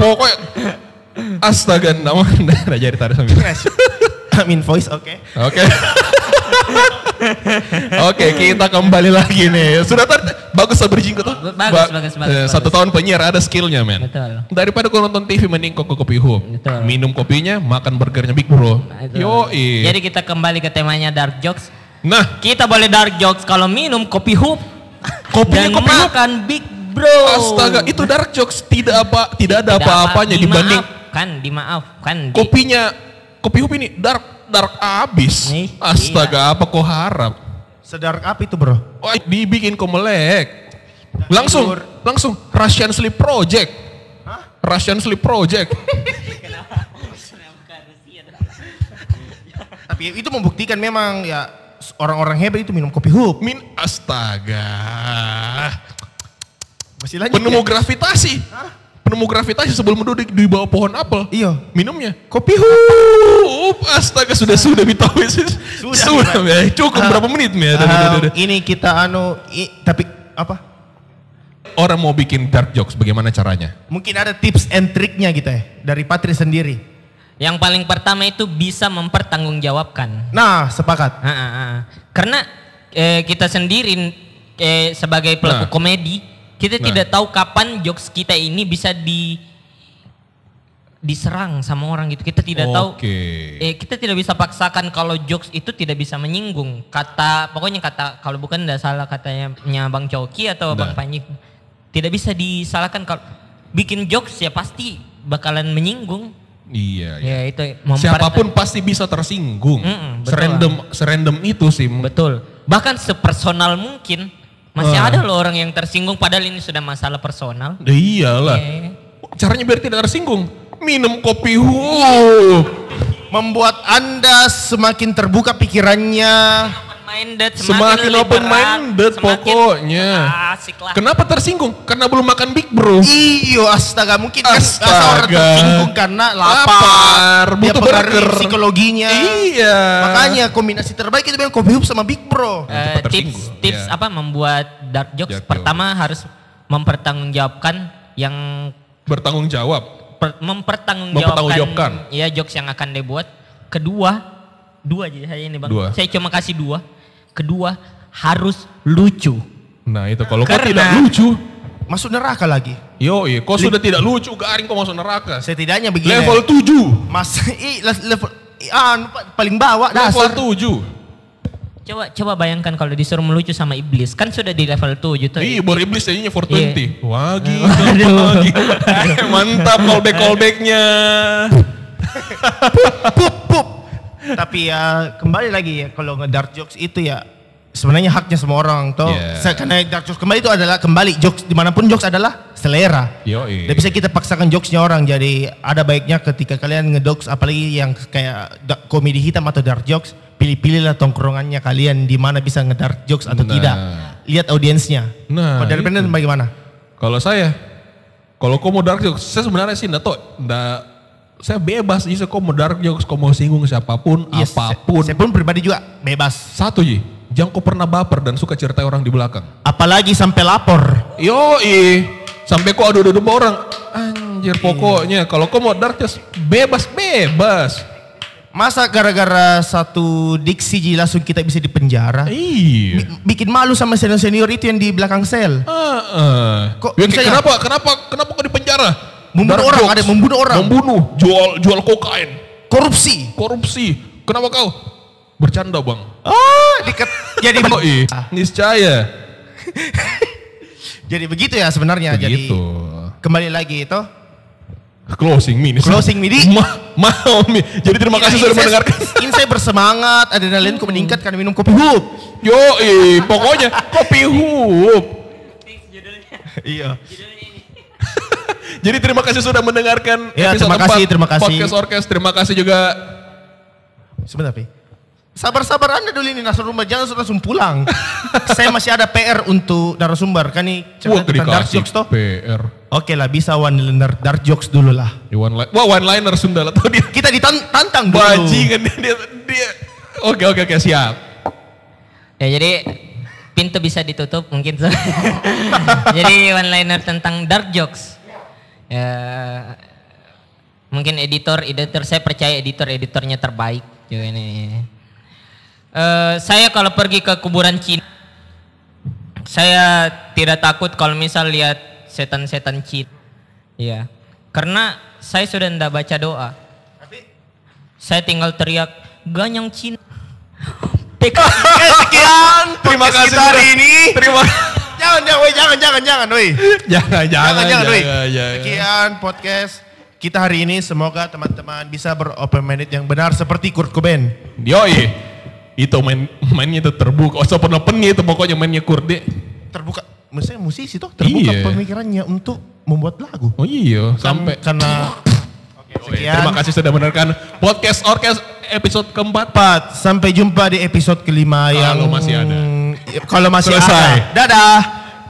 Speaker 1: Pokoknya astaga nama nah, jadi tarik sambil. Oke.
Speaker 2: Amin voice, oke.
Speaker 1: Oke, kita kembali lagi nih. Sudah tar bagus lah bridging tuh.
Speaker 3: Bagus, bagus, bagus,
Speaker 1: eh, Satu
Speaker 3: bagus.
Speaker 1: tahun penyiar ada skillnya, men.
Speaker 3: Betul.
Speaker 1: Daripada kau nonton TV mending kau ke kopi hub.
Speaker 3: Betul.
Speaker 1: Minum kopinya, makan burgernya Big Bro.
Speaker 3: Nah, itu.
Speaker 1: Yoi.
Speaker 3: Jadi kita kembali ke temanya dark jokes.
Speaker 1: nah,
Speaker 3: Kita boleh dark jokes kalau minum kopi hub
Speaker 1: Kopinya
Speaker 3: dan
Speaker 1: kopi hub.
Speaker 3: makan big bro.
Speaker 1: Oh. astaga, itu dark jokes tidak apa tidak ada
Speaker 3: Tidak
Speaker 1: apa-apanya
Speaker 3: apa-
Speaker 1: dibanding
Speaker 3: dimaafkan, dimaafkan. Di-
Speaker 1: kopinya kopi hub ini dark dark abis
Speaker 3: Nih,
Speaker 1: astaga apa kau harap
Speaker 2: Sedark apa itu bro?
Speaker 1: Wah, dibikin kau melek langsung langsung Russian Sleep Project Russian Sleep Project
Speaker 2: Tapi itu membuktikan memang ya s- orang-orang hebat itu minum kopi hub.
Speaker 1: min astaga
Speaker 2: Masih lanjut.
Speaker 1: penemu
Speaker 2: ya?
Speaker 1: gravitasi penemu gravitasi sebelum duduk di bawah pohon apel
Speaker 2: Iya.
Speaker 1: minumnya kopi hub astaga sudah sudah Bitawi sudah, sudah Mia. cukup berapa menit ya
Speaker 2: Ah, ini kita anu i- tapi apa?
Speaker 1: orang mau bikin dark jokes bagaimana caranya
Speaker 2: Mungkin ada tips and triknya gitu ya dari Patri sendiri.
Speaker 3: Yang paling pertama itu bisa mempertanggungjawabkan.
Speaker 2: Nah, sepakat.
Speaker 3: Ah, ah, ah. Karena eh, kita sendiri eh, sebagai pelaku
Speaker 1: Nah.
Speaker 3: komedi, kita
Speaker 1: Nah.
Speaker 3: tidak tahu kapan jokes kita ini bisa di diserang sama orang gitu. Kita tidak tahu.
Speaker 1: Oke. Iya,
Speaker 3: Eh, kita tidak bisa paksakan kalau jokes itu tidak bisa menyinggung kata pokoknya kata kalau bukan tidak salah katanya nya Bang Coki atau Bang
Speaker 1: Nah.
Speaker 3: Panji tidak bisa disalahkan kalau bikin jokes ya pasti bakalan menyinggung
Speaker 1: Iya, iya.
Speaker 3: ya itu memperta-
Speaker 1: Siapapun pasti bisa tersinggung.
Speaker 3: Mm-mm, betul.
Speaker 1: serandom serandom itu sih.
Speaker 3: Betul. Bahkan sepersonal mungkin masih
Speaker 1: Ah.
Speaker 3: ada loh orang yang tersinggung padahal ini sudah masalah personal.
Speaker 1: Iyalah.
Speaker 3: Iya.
Speaker 1: Caranya biar tidak tersinggung, minum kopi hub.
Speaker 2: Membuat Anda semakin terbuka pikirannya.
Speaker 3: Open minded,
Speaker 1: Semakin open minded pokoknya.
Speaker 3: ah, asik lah.
Speaker 1: Kenapa tersinggung? Karena belum makan Big Bro.
Speaker 2: Iyo astaga mungkin
Speaker 1: Astaga.
Speaker 2: kan rasa orang tersinggung karena lapar,
Speaker 1: Lapar,
Speaker 2: dia
Speaker 1: butuh
Speaker 2: pengaruhi
Speaker 1: burger.
Speaker 2: psikologinya.
Speaker 1: Iya.
Speaker 2: Makanya kombinasi terbaik itu bilang kopi hub sama Big Bro.
Speaker 3: Eh,
Speaker 1: Cepat
Speaker 3: tips
Speaker 1: tersinggung,
Speaker 3: tips
Speaker 1: iya.
Speaker 3: apa membuat dark jokes?
Speaker 1: Dark
Speaker 3: Pertama harus mempertanggungjawabkan yang
Speaker 1: Bertanggung jawab.
Speaker 3: per- mempertanggungjawabkan,
Speaker 1: Mempertanggungjawabkan.
Speaker 3: ya jokes yang akan dibuat. Kedua, dua aja saya ini bang.
Speaker 1: Dua.
Speaker 3: Saya cuma kasih dua. Kedua harus lucu.
Speaker 1: Nah itu kalau kau
Speaker 3: Karena-
Speaker 1: tidak lucu,
Speaker 2: Masuk neraka lagi.
Speaker 1: yo kau sudah tidak lucu, garing kau masuk neraka.
Speaker 2: Setidaknya begini.
Speaker 1: Level 7.
Speaker 2: Mas i le- level i- ah, nupa- paling bawah
Speaker 1: Level
Speaker 2: dasar.
Speaker 1: 7.
Speaker 3: Coba coba bayangkan kalau disuruh melucu sama iblis kan sudah di level 7 tuh.
Speaker 1: Ih,
Speaker 2: iya.
Speaker 1: bor iblis jadinya 420. Wah, gila.
Speaker 3: Aduh.
Speaker 1: lagi. Mantap callback callbacknya.
Speaker 2: Pup, pup. Tapi ya kembali lagi ya kalau nge-dark jokes itu ya sebenarnya haknya semua orang toh.
Speaker 1: Iya.
Speaker 2: Saya Karena dark jokes kembali itu adalah kembali jokes dimanapun jokes adalah selera.
Speaker 1: Yoi.
Speaker 2: Tidak bisa gitu. kita paksakan jokesnya orang. Jadi ada baiknya ketika kalian ngedokes apalagi yang kayak da- komedi hitam atau dark jokes, pilih-pilihlah tongkrongannya kalian di mana bisa ngedark jokes atau
Speaker 1: Nah.
Speaker 2: tidak. Lihat audiensnya.
Speaker 1: Nah,
Speaker 2: Kalau dari
Speaker 1: itu.
Speaker 2: Brandon bagaimana?
Speaker 1: Kalau saya, kalau kau mau dark jokes, saya sebenarnya sih ndak tau, ndak saya bebas sih kau mau dark jokes, kau mau singgung siapapun,
Speaker 2: Yes, Iya, saya-
Speaker 1: apapun.
Speaker 2: Saya, pun pribadi juga bebas.
Speaker 1: Satu ji, jangan kau pernah baper dan suka cerita orang di belakang.
Speaker 2: Apalagi sampai lapor.
Speaker 1: Yo sampai kau adu-adu sama orang. Anjir
Speaker 2: Iya.
Speaker 1: pokoknya kalau kau mau dark jokes bebas bebas.
Speaker 2: Masa gara-gara satu diksi ji langsung kita bisa dipenjara?
Speaker 1: Iya.
Speaker 2: Bikin malu sama senior-senior itu yang di belakang sel.
Speaker 1: Heeh.
Speaker 2: Kok
Speaker 1: Ya,
Speaker 2: misalnya-
Speaker 1: kenapa kenapa kenapa kau di penjara?
Speaker 2: Membunuh orang, ada yang membunuh orang.
Speaker 1: Membunuh, jual jual kokain,
Speaker 2: Korupsi.
Speaker 1: korupsi. Kenapa kau? Bercanda, Bang.
Speaker 2: Oh, diket. Jadi
Speaker 1: Ah.
Speaker 2: Ah,
Speaker 1: Oh, iya. Niscaya.
Speaker 2: jadi begitu ya sebenarnya.
Speaker 1: Begitu.
Speaker 2: Jadi kembali lagi itu.
Speaker 1: Closing mini.
Speaker 2: Closing mi, Di.
Speaker 1: Ma mau mi. Jadi terima kasih sudah mendengarkan. Hmm.
Speaker 2: Ingin saya bersemangat, adrenalin ku meningkat karena minum kopi hub.
Speaker 1: Yo, pokoknya kopi hub.
Speaker 2: Iya.
Speaker 1: Jadi terima kasih sudah mendengarkan
Speaker 2: Ya,
Speaker 1: episode
Speaker 2: terima kasih,
Speaker 1: empat
Speaker 2: terima kasih.
Speaker 1: Podcast Orkes, terima kasih juga.
Speaker 2: Sebentar, Pi. Sabar-sabar Anda dulu ini narasumber, jangan langsung- langsung pulang. saya masih ada PR untuk narasumber, kan nih
Speaker 1: Wah,
Speaker 2: cerita tentang dark
Speaker 1: dikasih
Speaker 2: jokes toh.
Speaker 1: PR.
Speaker 2: Oke lah, bisa one liner dark jokes dulu lah.
Speaker 1: Di One line, wah one liner Sunda lah. Tahu dia
Speaker 2: Kita ditantang dulu.
Speaker 1: bajingan dia, dia, dia. Oke oke oke siap.
Speaker 3: Ya jadi pintu bisa ditutup mungkin. so. jadi one liner tentang dark jokes. Ya, mungkin editor editor saya percaya editor editornya terbaik juga ini. Eh, saya kalau pergi ke kuburan Cina saya tidak takut kalau misal lihat setan-setan Cina. Iya. Karena saya sudah ndak baca doa. Saya tinggal teriak ganyang Cina. PKI.
Speaker 2: Oke, sekian.
Speaker 1: Terima
Speaker 2: podcast
Speaker 1: kasih
Speaker 2: kita hari
Speaker 1: sudah-
Speaker 2: ini.
Speaker 1: Terima.
Speaker 2: Jangan, jangan, woi, jangan, jangan, jangan, woi.
Speaker 1: jangan jangan
Speaker 2: Jangan, jangan,
Speaker 1: jangan,
Speaker 2: woi.
Speaker 1: ya, jangan.
Speaker 2: Sekian podcast kita hari ini. Semoga teman-teman bisa beropen minded yang benar seperti Kurt Cobain.
Speaker 1: Yoi. Itu main mainnya itu terbuka. Oh, open opennya itu pokoknya mainnya kurde.
Speaker 2: Terbuka, maksudnya musisi toh terbuka
Speaker 1: Iya.
Speaker 2: pemikirannya untuk membuat lagu.
Speaker 1: Oh iya, sampai.
Speaker 2: Kan- karena Oke,
Speaker 1: Yoi,
Speaker 2: sekian.
Speaker 1: Terima kasih sudah mendengarkan podcast orkes episode keempat.
Speaker 2: Pat, Sampai jumpa di episode kelima yang
Speaker 1: Kalau masih ada.
Speaker 2: Kalau masih
Speaker 1: Selesai.
Speaker 2: ada. Dadah.